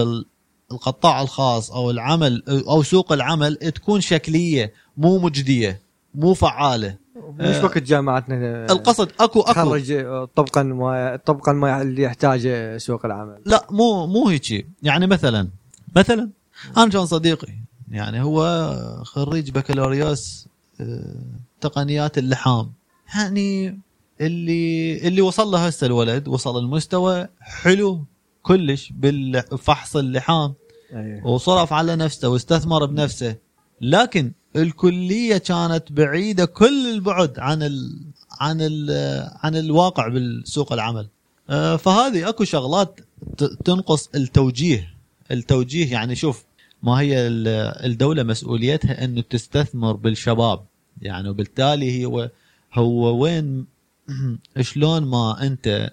بالقطاع الخاص او العمل او سوق العمل تكون شكليه مو مجديه مو فعاله مش وقت جامعتنا القصد اكو اكو آه، تخرج طبقا ما طبقا ما اللي يحتاجه سوق العمل لا مو مو هيجي يعني مثلا مثلا انا كان صديقي يعني هو خريج بكالوريوس آه، تقنيات اللحام يعني اللي اللي وصل له هسه الولد وصل المستوى حلو كلش بالفحص اللحام اي وصرف على نفسه واستثمر بنفسه لكن الكليه كانت بعيده كل البعد عن ال عن ال عن الواقع بالسوق العمل آه، فهذه اكو شغلات ت- تنقص التوجيه التوجيه يعني شوف ما هي ال- الدوله مسؤوليتها انه تستثمر بالشباب يعني وبالتالي هو هو وين شلون ما انت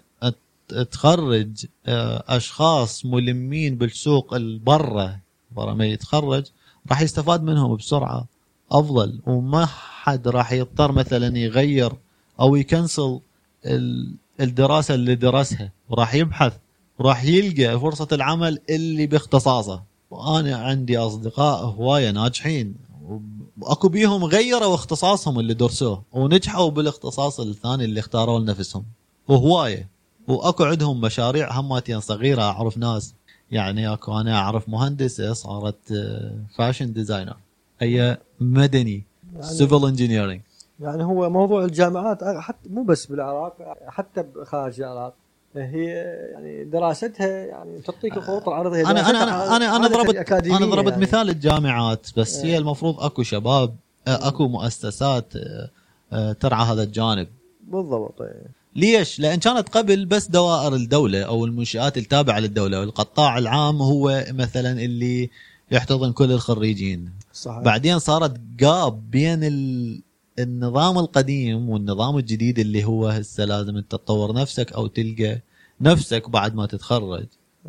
تخرج آه، اشخاص ملمين بالسوق البرة برا ما يتخرج راح يستفاد منهم بسرعه افضل وما حد راح يضطر مثلا يغير او يكنسل ال- الدراسه اللي درسها وراح يبحث وراح يلقى فرصه العمل اللي باختصاصه وانا عندي اصدقاء هوايه ناجحين اكو بيهم غيروا اختصاصهم اللي درسوه ونجحوا بالاختصاص الثاني اللي اختاروه لنفسهم وهوايه واكو عندهم مشاريع هماتين صغيره اعرف ناس يعني اكو انا اعرف مهندسه صارت آه، فاشن ديزاينر هي مدني سيفل انجينيرنج يعني هو موضوع الجامعات حتى مو بس بالعراق حتى خارج العراق هي يعني دراستها يعني تعطيك الخطوط العرضيه انا انا انا انا, آه، أنا دراستها ضربت الأكاديمية انا ضربت يعني. إيه. مثال الجامعات بس هي المفروض اكو شباب آه، اكو مؤسسات آه، آه، ترعى هذا الجانب بالضبط إيه. إي. ليش؟ لان كانت قبل بس دوائر الدوله او المنشات التابعه للدوله والقطاع العام هو مثلا اللي يحتضن كل الخريجين صحيح بعدين صارت قاب بين ال... النظام القديم والنظام الجديد اللي هو هسه لازم انت تطور نفسك او تلقى نفسك بعد ما تتخرج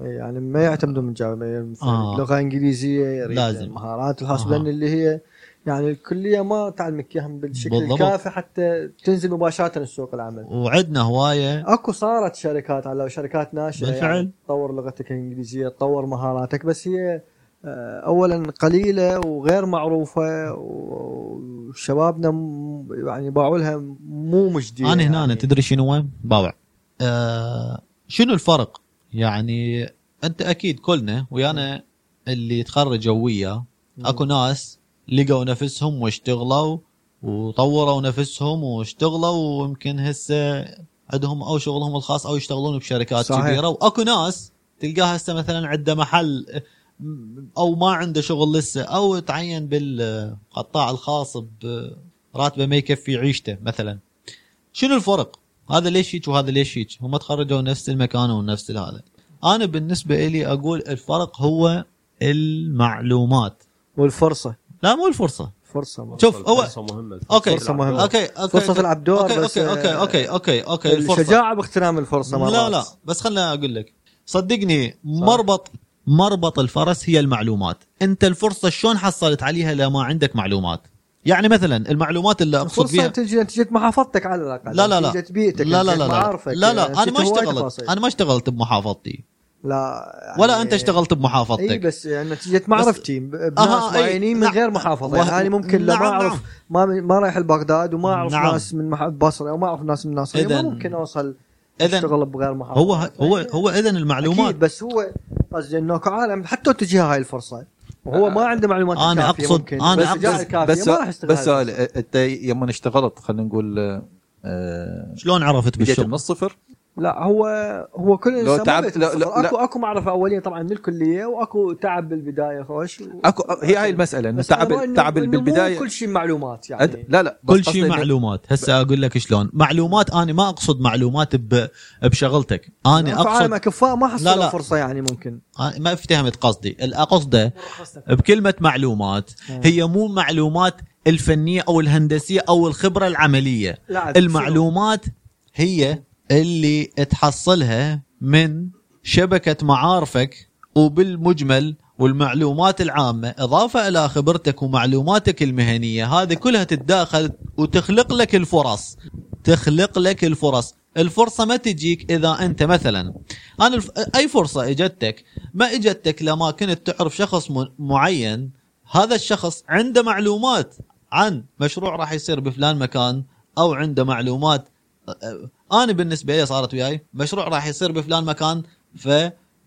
إي، يعني ما يعتمدون من يعني جامعه مثلا آه. لغه انجليزيه يريد لازم. مهارات الخاصه آه. لان اللي هي يعني الكليه ما تعلمك اياهم بالشكل بالضبط. الكافي حتى تنزل مباشره لسوق العمل وعدنا هوايه اكو صارت شركات على شركات ناشئه بالفعل. يعني تطور لغتك الانجليزيه تطور مهاراتك بس هي آه، اولا قليله وغير معروفه و- وشبابنا م- يعني باعوا لها مو مجديه انا هنا يعني. أنا تدري شنو وين باوع آه شنو الفرق يعني انت اكيد كلنا ويانا اللي تخرجوا وياه اكو ناس لقوا نفسهم واشتغلوا وطوروا نفسهم واشتغلوا ويمكن هسه عندهم او شغلهم الخاص او يشتغلون بشركات صحيح. صحيح. كبيره واكو ناس تلقاه هسه مثلا عنده محل او ما عنده شغل لسه او تعين بالقطاع الخاص براتبه ما يكفي عيشته مثلا شنو الفرق؟ هذا ليش هيك وهذا ليش هيك؟ هم تخرجوا نفس المكان ونفس هذا. انا بالنسبه لي اقول الفرق هو المعلومات والفرصه لا مو الفرصه فرصه ما. شوف، هو- فرصة مهمة اوكي فرصة مهمة. اوكي اوكي فرصه تلعب دور اوكي بس اوكي اوكي آه، اوكي اوكي اوكي الفرصه الشجاعه باغتنام الفرصه مرات لا لا بس خلنا اقول لك صدقني مربط مربط الفرس هي المعلومات انت الفرصه شلون حصلت عليها لما عندك معلومات يعني مثلا المعلومات اللي اقصد الفرصه فيها تجي نتيجه محافظتك على الاقل لا لا لا نتيجه بيئتك لا لا نتيجة لا لا معارفك لا لا انا نتيجة ما وايد اشتغلت تفاصيل. انا ما اشتغلت بمحافظتي لا ولا يعني- انت اشتغلت اي بمحافظتك بس يعني نتيجه معرفتي ب- بناس أها، أي. معينين من نعم. غير محافظه وه- يعني انا ممكن لو ما نعم، اعرف نعم. ما ما رايح البغداد وما اعرف نعم. ناس من مح- بصره وما اعرف ناس من ناصريه ما إذن- ممكن اوصل اذا اشتغل بغير محافظه هو هو هو اذا المعلومات اكيد بس هو قصدي انه كعالم حتى تجيها هاي الفرصه وهو ما عنده معلومات آه، أنا الكافية أقصد- ممكن. أنا والشجاعة أقصد- الكافية بس ما راح يستغل بس سؤال أ- انت يوم اشتغلت خلينا نقول آه، شلون عرفت بديت بالشغل من الصفر لا هو هو كل انسان ما تعبت- بيت- لا- لا- لا. اكو اكو معرفه اوليه طبعا من الكليه واكو تعب بالبدايه خوش اكو آه، هي هاي المساله انه بس تعب أنا رأي إنه- تعب إنه مو بالبدايه كل شيء معلومات يعني أد- لا لا بس كل قصدي شيء إنه- معلومات هسه اقول لك شلون معلومات انا ما اقصد معلومات ب... بشغلتك انا في عالم اقصد اكفاء ما لا، حصلوا لا. فرصه يعني ممكن أنا ما افتهمت قصدي اللي اقصده بكلمه معلومات هي مو معلومات الفنيه او الهندسيه او الخبره العمليه لا المعلومات هي اللي تحصلها من شبكة معارفك وبالمجمل والمعلومات العامة إضافة إلى خبرتك ومعلوماتك المهنية هذه كلها تتداخل وتخلق لك الفرص تخلق لك الفرص الفرصة ما تجيك إذا أنت مثلا أنا الف... أي فرصة إجتك ما إجتك لما كنت تعرف شخص م... معين هذا الشخص عنده معلومات عن مشروع راح يصير بفلان مكان او عنده معلومات انا بالنسبه لي صارت وياي مشروع راح يصير بفلان مكان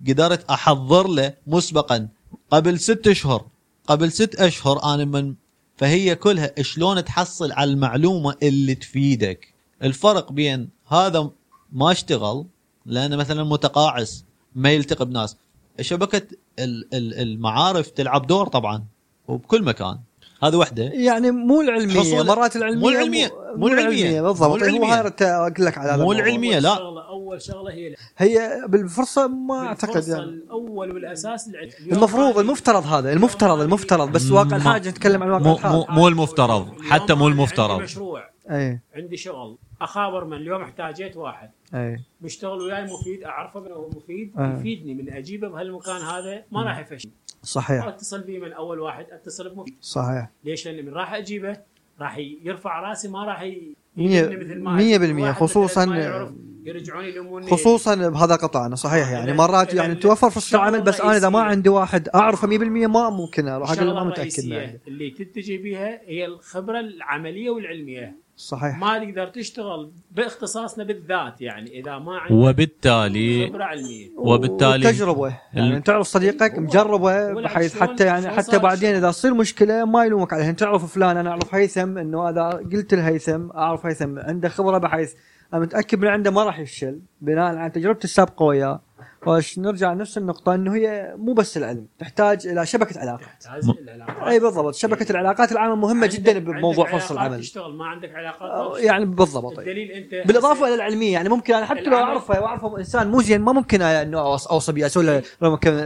فقدرت احضر له مسبقا قبل ست اشهر قبل ست اشهر انا من فهي كلها شلون تحصل على المعلومه اللي تفيدك الفرق بين هذا ما اشتغل لانه مثلا متقاعس ما يلتقي بناس شبكه ال- ال- المعارف تلعب دور طبعا وبكل مكان هذه وحده يعني مو العلميه حصول- مرات العلميه مو العلمية. مو- مو مو العلميه العلمية. بالضبط طيب، مو هو العلمية. هاي رت- اقول لك على هذا مو الموضوع. العلمية. أول لا. شغلة- اول شغله هي العلم. هي بالفرصه ما اعتقد الفرصة يعني الاول والاساس العلم اليوم المفروض هذه- المفترض هذا المفترض المفترض بس ما- واقع الحاجه نتكلم عن واقع مو الحال مو مو المفترض اليوم حتى مو أنا المفترض عندي مشروع اي عندي شغل اخابر من اليوم احتاجيت واحد اي مشتغل وياي مفيد اعرفه من هو مفيد آه. يفيدني من اجيبه بهالمكان هذا ما راح يفشل صحيح اتصل به من اول واحد اتصل بمفيد صحيح ليش؟ لان من راح اجيبه راح يرفع راسي ما راح ي- مية- يجيبني مثل ما مية أجيب. بالمية، واحد مثل خصوصاً- ما يعرف يرجعوني يلوموني خصوصا بهذا قطاعنا صحيح يعني مرات إذا- يعني إذا توفر فرصه الشغل عمل بس انا اذا ما الرئيسية- عندي واحد اعرفه 100% ما ممكن اروح اقول له الشغله ما متاكد من الرئيسيه عندي. اللي تتجه بها هي الخبره العمليه والعلميه صحيح ما تقدر تشتغل باختصاصنا بالذات يعني اذا ما عندك وبالتالي خبره علميه وبالتالي- تجربه يعني ال- تعرف صديقك هو- مجربه هو بحيث شلون- حتى يعني شلون حتى صار بعدين الشغل؟ اذا تصير مشكله ما يلومك عليها يعني تعرف فلان انا اعرف هيثم انه اذا قلت لهيثم اعرف هيثم عنده خبره بحيث انا متاكد من عنده ما راح يفشل بناء على تجربتي السابقه وياه وش نرجع لنفس النقطه انه هي مو بس العلم تحتاج الى شبكه علاقات تحتاج العلاقات. اي بالضبط شبكه العلاقات العامه مهمه إيه. عندك- جدا بموضوع عندك فرص علاقات العمل تشتغل ما عندك علاقات ما أو تشتغل. يعني بالضبط أي. الدليل انت بالاضافه الى العلميه يعني ممكن انا حتى لو العمل- اعرفه واعرفه انسان مو زين ما ممكن أنا انه أوص- اوصى بيه اسوي له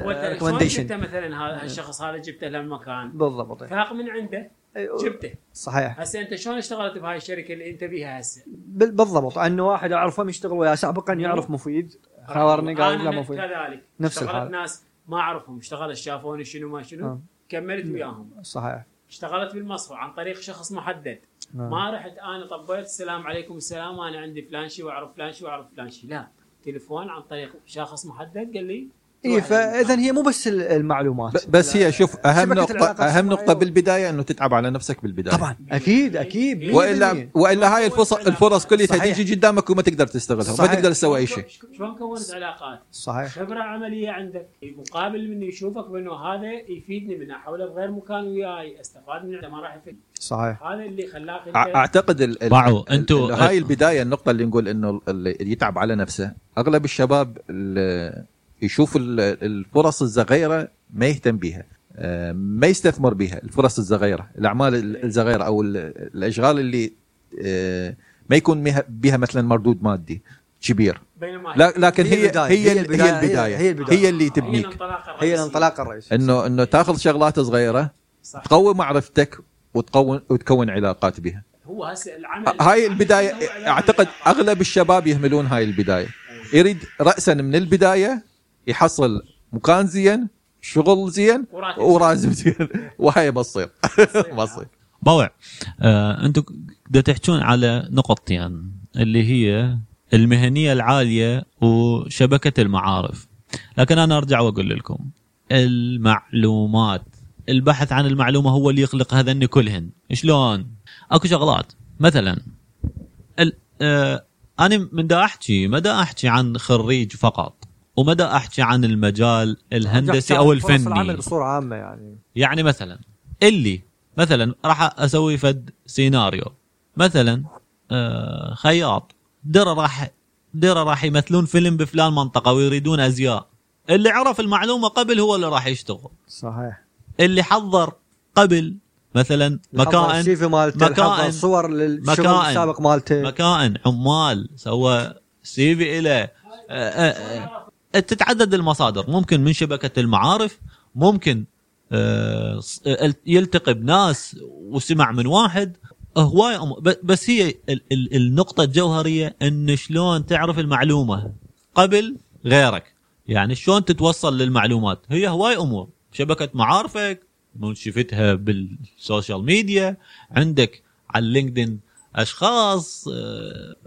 ريكومنديشن انت ريكومنديشن مثلا هذا الشخص هذا جبته للمكان بالضبط أي. فاق من عنده جبته صحيح هسه انت شلون اشتغلت بهاي الشركه اللي انت بيها هسه؟ بال- بالضبط انه واحد اعرفه مشتغل وياه سابقا يعرف مفيد خاورني قال أنا لا مفيد كذلك نفس اشتغلت الحال. ناس ما اعرفهم اشتغلت شافوني شنو ما شنو آه. كملت وياهم صحيح اشتغلت بالمصفى عن طريق شخص محدد نعم. ما رحت انا طبيت السلام عليكم السلام انا عندي فلان شي واعرف فلان شي واعرف فلان شي لا تليفون عن طريق شخص محدد قال لي اي روح فاذا على- إيه، هي مو بس ال- المعلومات ب- بس هي شوف اهم شبكة العلاقات نقطه اهم نقطه الاجتماعية و- بالبدايه انه تتعب على نفسك بالبدايه طبعا اكيد اكيد إيه. والا والا هاي الفرص الفرص كلها صحيح. تيجي قدامك وما تقدر تستغلها ما صحيح. تقدر تسوي اي شيء شلون كونت علاقات؟ صحيح خبره عمليه عندك مقابل من يشوفك بانه هذا يفيدني من احوله بغير مكان وياي استفاد منه ما راح يفيد صحيح هذا اللي خلاك انت أع- اعتقد ال ال باعوا ال- انتوا ال- هاي البدايه النقطه اللي نقول انه اللي يتعب على نفسه اغلب الشباب ال- يشوف ال- الفرص الصغيره ما يهتم بها آه، ما يستثمر بها الفرص الصغيره الاعمال ال- الصغيره او ال- الاشغال اللي آه، ما يكون مها- بها مثلا مردود مادي كبير بينما لا- لكن هي هي البداية، هي هي ال- البداية، هي البدايه هي البداية. هي اللي هي تبنيك الانطلاقه هي الرئيسية. الانطلاق الرئيسي انه انه تاخذ شغلات صغيره صح. تقوي معرفتك وتقوي وتكون علاقات بها هو هسه العمل هاي البدايه اعتقد اغلب الشباب يهملون هاي البدايه يريد راسا من البدايه يحصل مكان زين شغل زين وراتب زين وهاي بتصير بتصير باوع آه، انتم بدكم تحجون على نقطتين اللي هي المهنيه العاليه وشبكه المعارف لكن انا ارجع واقول لكم المعلومات البحث عن المعلومه هو اللي يخلق هذن كلهن شلون اكو شغلات مثلا ال آه انا من دا احكي ما دا احكي عن خريج فقط ومدى احكي عن المجال الهندسي او فرص العمل الفني بصوره عامه يعني يعني مثلا اللي مثلا راح اسوي فد سيناريو مثلا آه خياط درة راح درة راح يمثلون فيلم بفلان منطقة ويريدون ازياء اللي عرف المعلومة قبل هو اللي راح يشتغل صحيح اللي حضر قبل مثلا الحظر مكائن السيفي مالته مكائن. الحظر صور للشغل مكائن. السابق مالته مكائن عمال سوى سي في له آه، آه، آه، تتعدد المصادر ممكن من شبكه المعارف ممكن آه، ص- آه، يلتقي بناس وسمع من واحد هواي أم- ب- بس هي ال- ال- النقطه الجوهريه ان شلون تعرف المعلومه قبل غيرك يعني شلون تتوصل للمعلومات هي هواي امور شبكه معارفك من شفتها بالسوشيال ميديا عندك على اللينكدين اشخاص آه،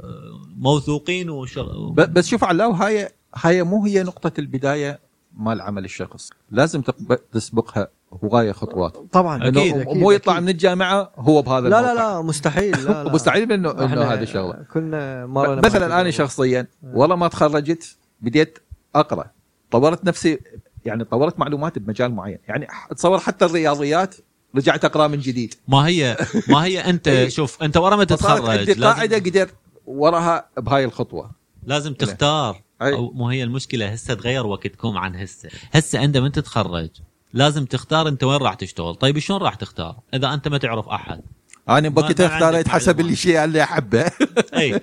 آه، موثوقين وشغ... ب- بس شوف علاو هاي هاي مو هي نقطه البدايه مال عمل الشخص لازم تقب- تسبقها هوايه خطوات طبعا أكيد، إنه مو يطلع من الجامعه هو بهذا لا لا الموقع. لا مستحيل لا لا مستحيل انه انه إحنا هذا الشغله كنا مرة مثلا انا شخصيا والله ما تخرجت بديت اقرا طورت نفسي يعني طورت معلومات بمجال معين يعني اتصور حتى الرياضيات رجعت اقرا من جديد ما هي ما هي انت شوف انت ورا ما فصارت تتخرج عندي قاعده لازم, قدرت وراها بهاي الخطوه لازم تختار أي. أو مو هي المشكله هسه تغير وقتكم عن هسه هسه انت من تتخرج لازم تختار انت وين راح تشتغل طيب شلون راح تختار اذا انت ما تعرف احد انا ما- بوقتها ما اختاريت عندك حسب معلومات. اللي شيء اللي احبه اي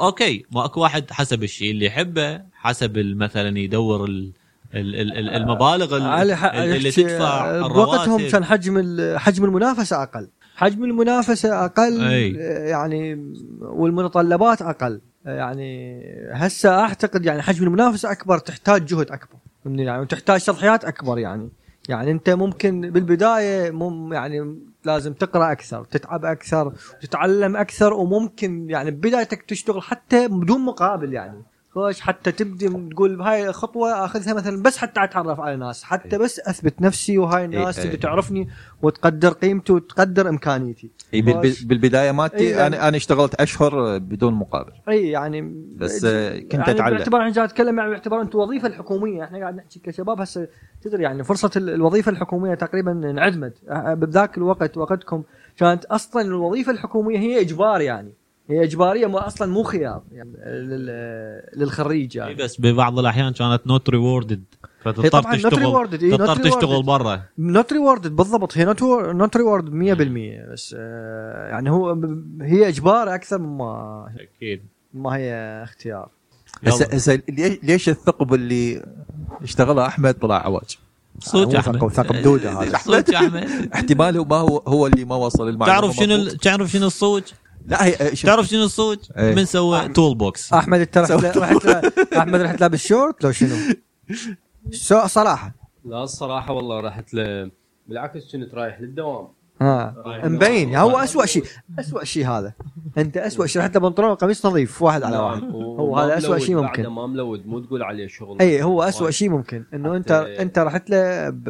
اوكي ما اكو واحد حسب الشيء اللي يحبه حسب ال- مثلا يدور ال ال ال ال- المبالغ ال- على حق ال- اللي يحكي- تدفع بوقتهم الرواتب كان حجم ال- حجم المنافسه اقل حجم المنافسه اقل أي. آه، يعني والمتطلبات اقل آه، يعني هسه اعتقد يعني حجم المنافسه اكبر تحتاج جهد اكبر فهمتني؟ يعني وتحتاج تضحيات اكبر يعني يعني انت ممكن بالبدايه مم يعني لازم تقرا اكثر تتعب اكثر تتعلم اكثر وممكن يعني بدايتك تشتغل حتى بدون مقابل يعني خوش حتى تبدي تقول هاي خطوه اخذها مثلا بس حتى اتعرف على ناس حتى بس اثبت نفسي وهاي الناس إيه. تبي تعرفني وتقدر قيمتي وتقدر امكانيتي إي بالب- بالبدايه إي مالتي يعني- انا انا اشتغلت اشهر بدون مقابل اي يعني بس آه، كنت يعني اتعلم باعتبار احنا قاعد نتكلم يعني باعتبار انت وظيفه الحكوميه احنا قاعد نحكي كشباب هسه تدري يعني فرصه ال- الوظيفه الحكوميه تقريبا انعدمت أه، بذاك الوقت وقتكم كانت اصلا الوظيفه الحكوميه هي اجبار يعني هي اجباريه مو اصلا مو خيار يعني لل- للخريج إي يعني بس ببعض الاحيان كانت نوت ريوردد فتضطر طبعاً not تشتغل rewarded، إي، not تضطر تشتغل rewarded. برا نوت ريوردد بالضبط هي نوت نوت ريوردد 100% بس آه، يعني هو هي اجبار اكثر مما اكيد ما هي اختيار هسه هسه ليش ليش الثقب اللي اشتغله احمد طلع عواج صوت هو احمد ثقب- ثقب دوده هذا صوت احمد احتمال هو ما هو هو اللي ما وصل المعلومه تعرف شنو مضبوط. ال- تعرف شنو الصوت لا هي آه، شوف- تعرف شنو الصوت إيه. من سوى آه. تول بوكس احمد انت رحت رحت احمد رحت لابس شورت لو شنو؟ شو صراحه لا الصراحه والله رحت ل... بالعكس كنت رايح للدوام ها مبين هو اسوء شيء اسوء شيء هذا انت اسوء شيء حتى بنطلون وقميص نظيف واحد نعم. على واحد هو هذا أسوأ شيء ممكن. ما ملود مو تقول عليه شغل اي إيه، هو اسوء شيء ممكن انه انت حتى- إيه انت رحت له ب...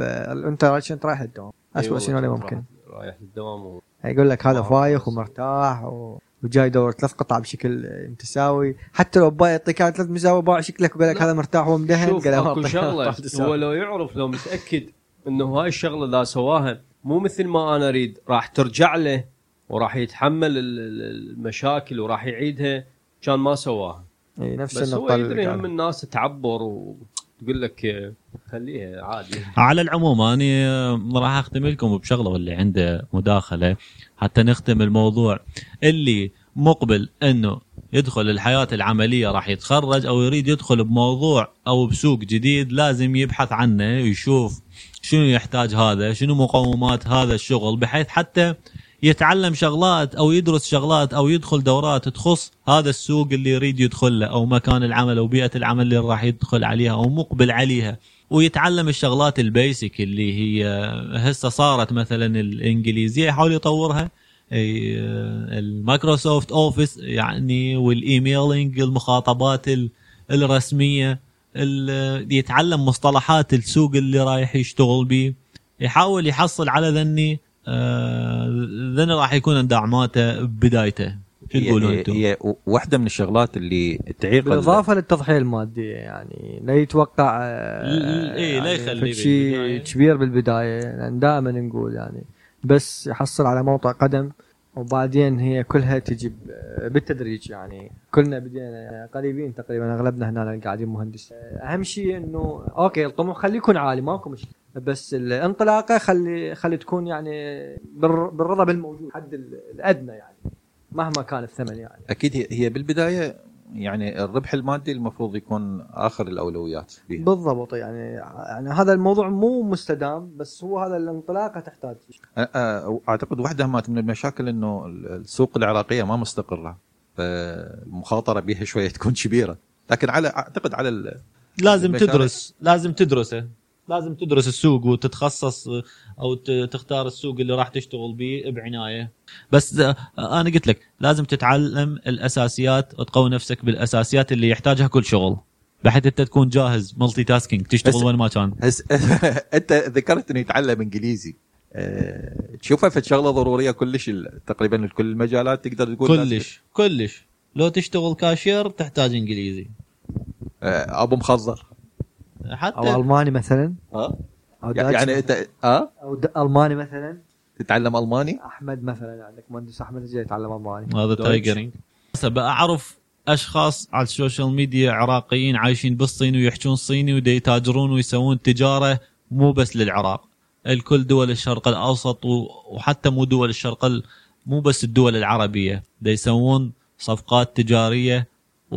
انت عشان رايح الدوام اسوء شيء اللي ممكن إيه، رايح للدوام و- يقول لك هذا آه. فايخ ومرتاح و... وجاي يدور ثلاث قطع بشكل متساوي حتى لو باي يعطيك هذا ثلاث مساوي باع شكلك بالك لا. هذا مرتاح ومدهن شوف قال أنا اكو أعطيك شغله قطعة هو تساوي. لو يعرف لو متاكد انه هاي الشغله اذا سواها مو مثل ما انا اريد راح ترجع له وراح يتحمل ال- ال- المشاكل وراح يعيدها كان ما سواها إي، إيه، نفس بس هو النقطه يدري اللي هم قالها. الناس تعبر وتقول لك آه، خليها عادي على العموم انا راح اختم لكم بشغله واللي عنده مداخله حتى نختم الموضوع اللي مقبل انه يدخل الحياه العمليه راح يتخرج او يريد يدخل بموضوع او بسوق جديد لازم يبحث عنه يشوف شنو يحتاج هذا شنو مقومات هذا الشغل بحيث حتى يتعلم شغلات او يدرس شغلات او يدخل دورات تخص هذا السوق اللي يريد يدخل له او مكان العمل او بيئه العمل اللي راح يدخل عليها او مقبل عليها ويتعلم الشغلات البيسك اللي هي هسه صارت مثلا الانجليزيه يحاول يطورها إي، المايكروسوفت اوفيس يعني والايميلينج المخاطبات ال- الرسميه ال- يتعلم مصطلحات السوق اللي رايح يشتغل به يحاول يحصل على ذني آه، ذني راح يكون اندعماته بدايته شو تقولون هي, انتم؟ هي واحده من الشغلات اللي تعيق ال- بالاضافه للتضحيه الماديه يعني لا يتوقع آه، يعني ل- إي، إيه، لا يخلي بالبداية. شيء كبير بالبدايه لان دائما نقول يعني بس يحصل على موطئ قدم وبعدين هي كلها تجي ب- بالتدريج يعني كلنا بدينا قريبين تقريبا اغلبنا هنا اللي قاعدين مهندس اهم شيء انه اوكي الطموح خليه يكون عالي ماكو مشكله بس الانطلاقه خلي خلي تكون يعني بالر- بالرضا بالموجود حد ال- الادنى يعني مهما كان الثمن يعني اكيد هي, هي بالبدايه يعني الربح المادي المفروض يكون اخر الاولويات فيها. بالضبط يعني يعني هذا الموضوع مو مستدام بس هو هذا الانطلاقه تحتاج أ- أ- اعتقد واحده مات من المشاكل انه السوق العراقيه ما مستقره فالمخاطره بها شويه تكون كبيره لكن على اعتقد على ال- لازم المشاريع. تدرس لازم تدرسه لازم تدرس السوق وتتخصص او ت- تختار السوق اللي راح تشتغل به بعنايه بس آه، انا قلت لك لازم تتعلم الاساسيات وتقوي نفسك بالاساسيات اللي يحتاجها كل شغل بحيث انت تكون جاهز ملتي تاسكينج بس- تشتغل وين ما كان هس انت ذكرت انه يتعلم انجليزي أه، تشوفها في شغله ضروريه كلش ال- تقريبا لكل المجالات تقدر تقول لازم- كلش كلش لو تشتغل كاشير تحتاج انجليزي أه، ابو مخضر او حتى الماني مثلا ها او داتش يعني انت ها او د- الماني مثلا تتعلم الماني احمد مثلا عندك مهندس احمد جاي يتعلم الماني هذا Deutsch. تايجرينج بس أبى اعرف اشخاص على السوشيال ميديا عراقيين عايشين بالصين ويحجون صيني ودي يتاجرون ويسوون تجاره مو بس للعراق الكل دول الشرق الاوسط و- وحتى مو دول الشرق ال- مو بس الدول العربيه دي يسوون صفقات تجاريه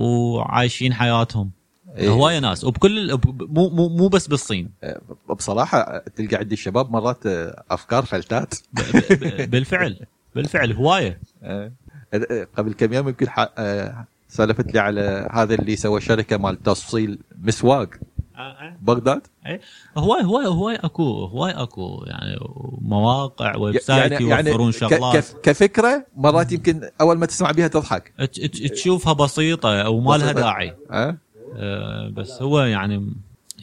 وعايشين حياتهم إيه. هوايه ناس وبكل ب- ب- مو مو مو بس بالصين بصراحه تلقى عند الشباب مرات آه، افكار فلتات ب- بالفعل بالفعل هوايه آه، آه، قبل كم يوم يمكن ح- آه، سالفت لي على هذا اللي سوى شركه مال تصفيل مسواق بغداد هواي هواي هواي اكو هواي اكو يعني مواقع ويب سايت يعني يعني يوفرون ك- شغلات كف- كفكره مرات يمكن اول ما تسمع بها تضحك ت- ت- تشوفها بسيطه او ما لها بسيطة. داعي أه؟ أه، بس هو يعني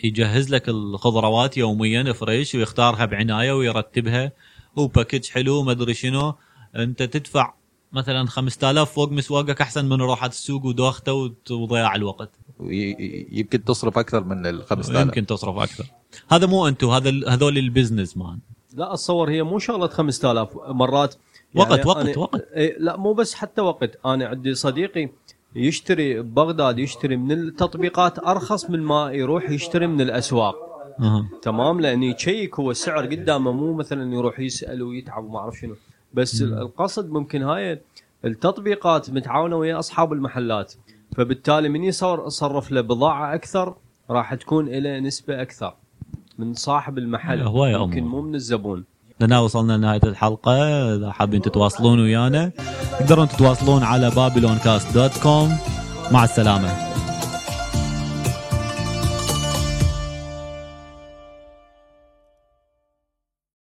يجهز لك الخضروات يوميا فريش ويختارها بعنايه ويرتبها وباكج حلو ما ادري شنو انت تدفع مثلا 5000 فوق مسواقك احسن من روحة السوق ودوخته وت- وضياع الوقت وي- ي- يمكن تصرف اكثر من ال 5000 يمكن تصرف اكثر هذا مو انتم هذا ال- هذول البزنس مان لا اتصور هي مو شغله 5000 مرات يعني وقت- وقت- أنا- وقت. إيه، لا مو بس حتى وقت انا عندي صديقي يشتري ببغداد يشتري من التطبيقات ارخص من ما يروح يشتري من الاسواق أها. تمام لان يشيك هو السعر قدامه مو مثلا يروح يسال ويتعب وما اعرف شنو بس ال- القصد ممكن هاي التطبيقات متعاونه ويا اصحاب المحلات فبالتالي من يصور صرف له بضاعه اكثر راح تكون له نسبه اكثر من صاحب المحل هواية ممكن أمور. مو من الزبون لنا وصلنا لنهاية الحلقة إذا حابين تتواصلون ويانا تقدرون تتواصلون على بابلونكاست دوت كوم مع السلامة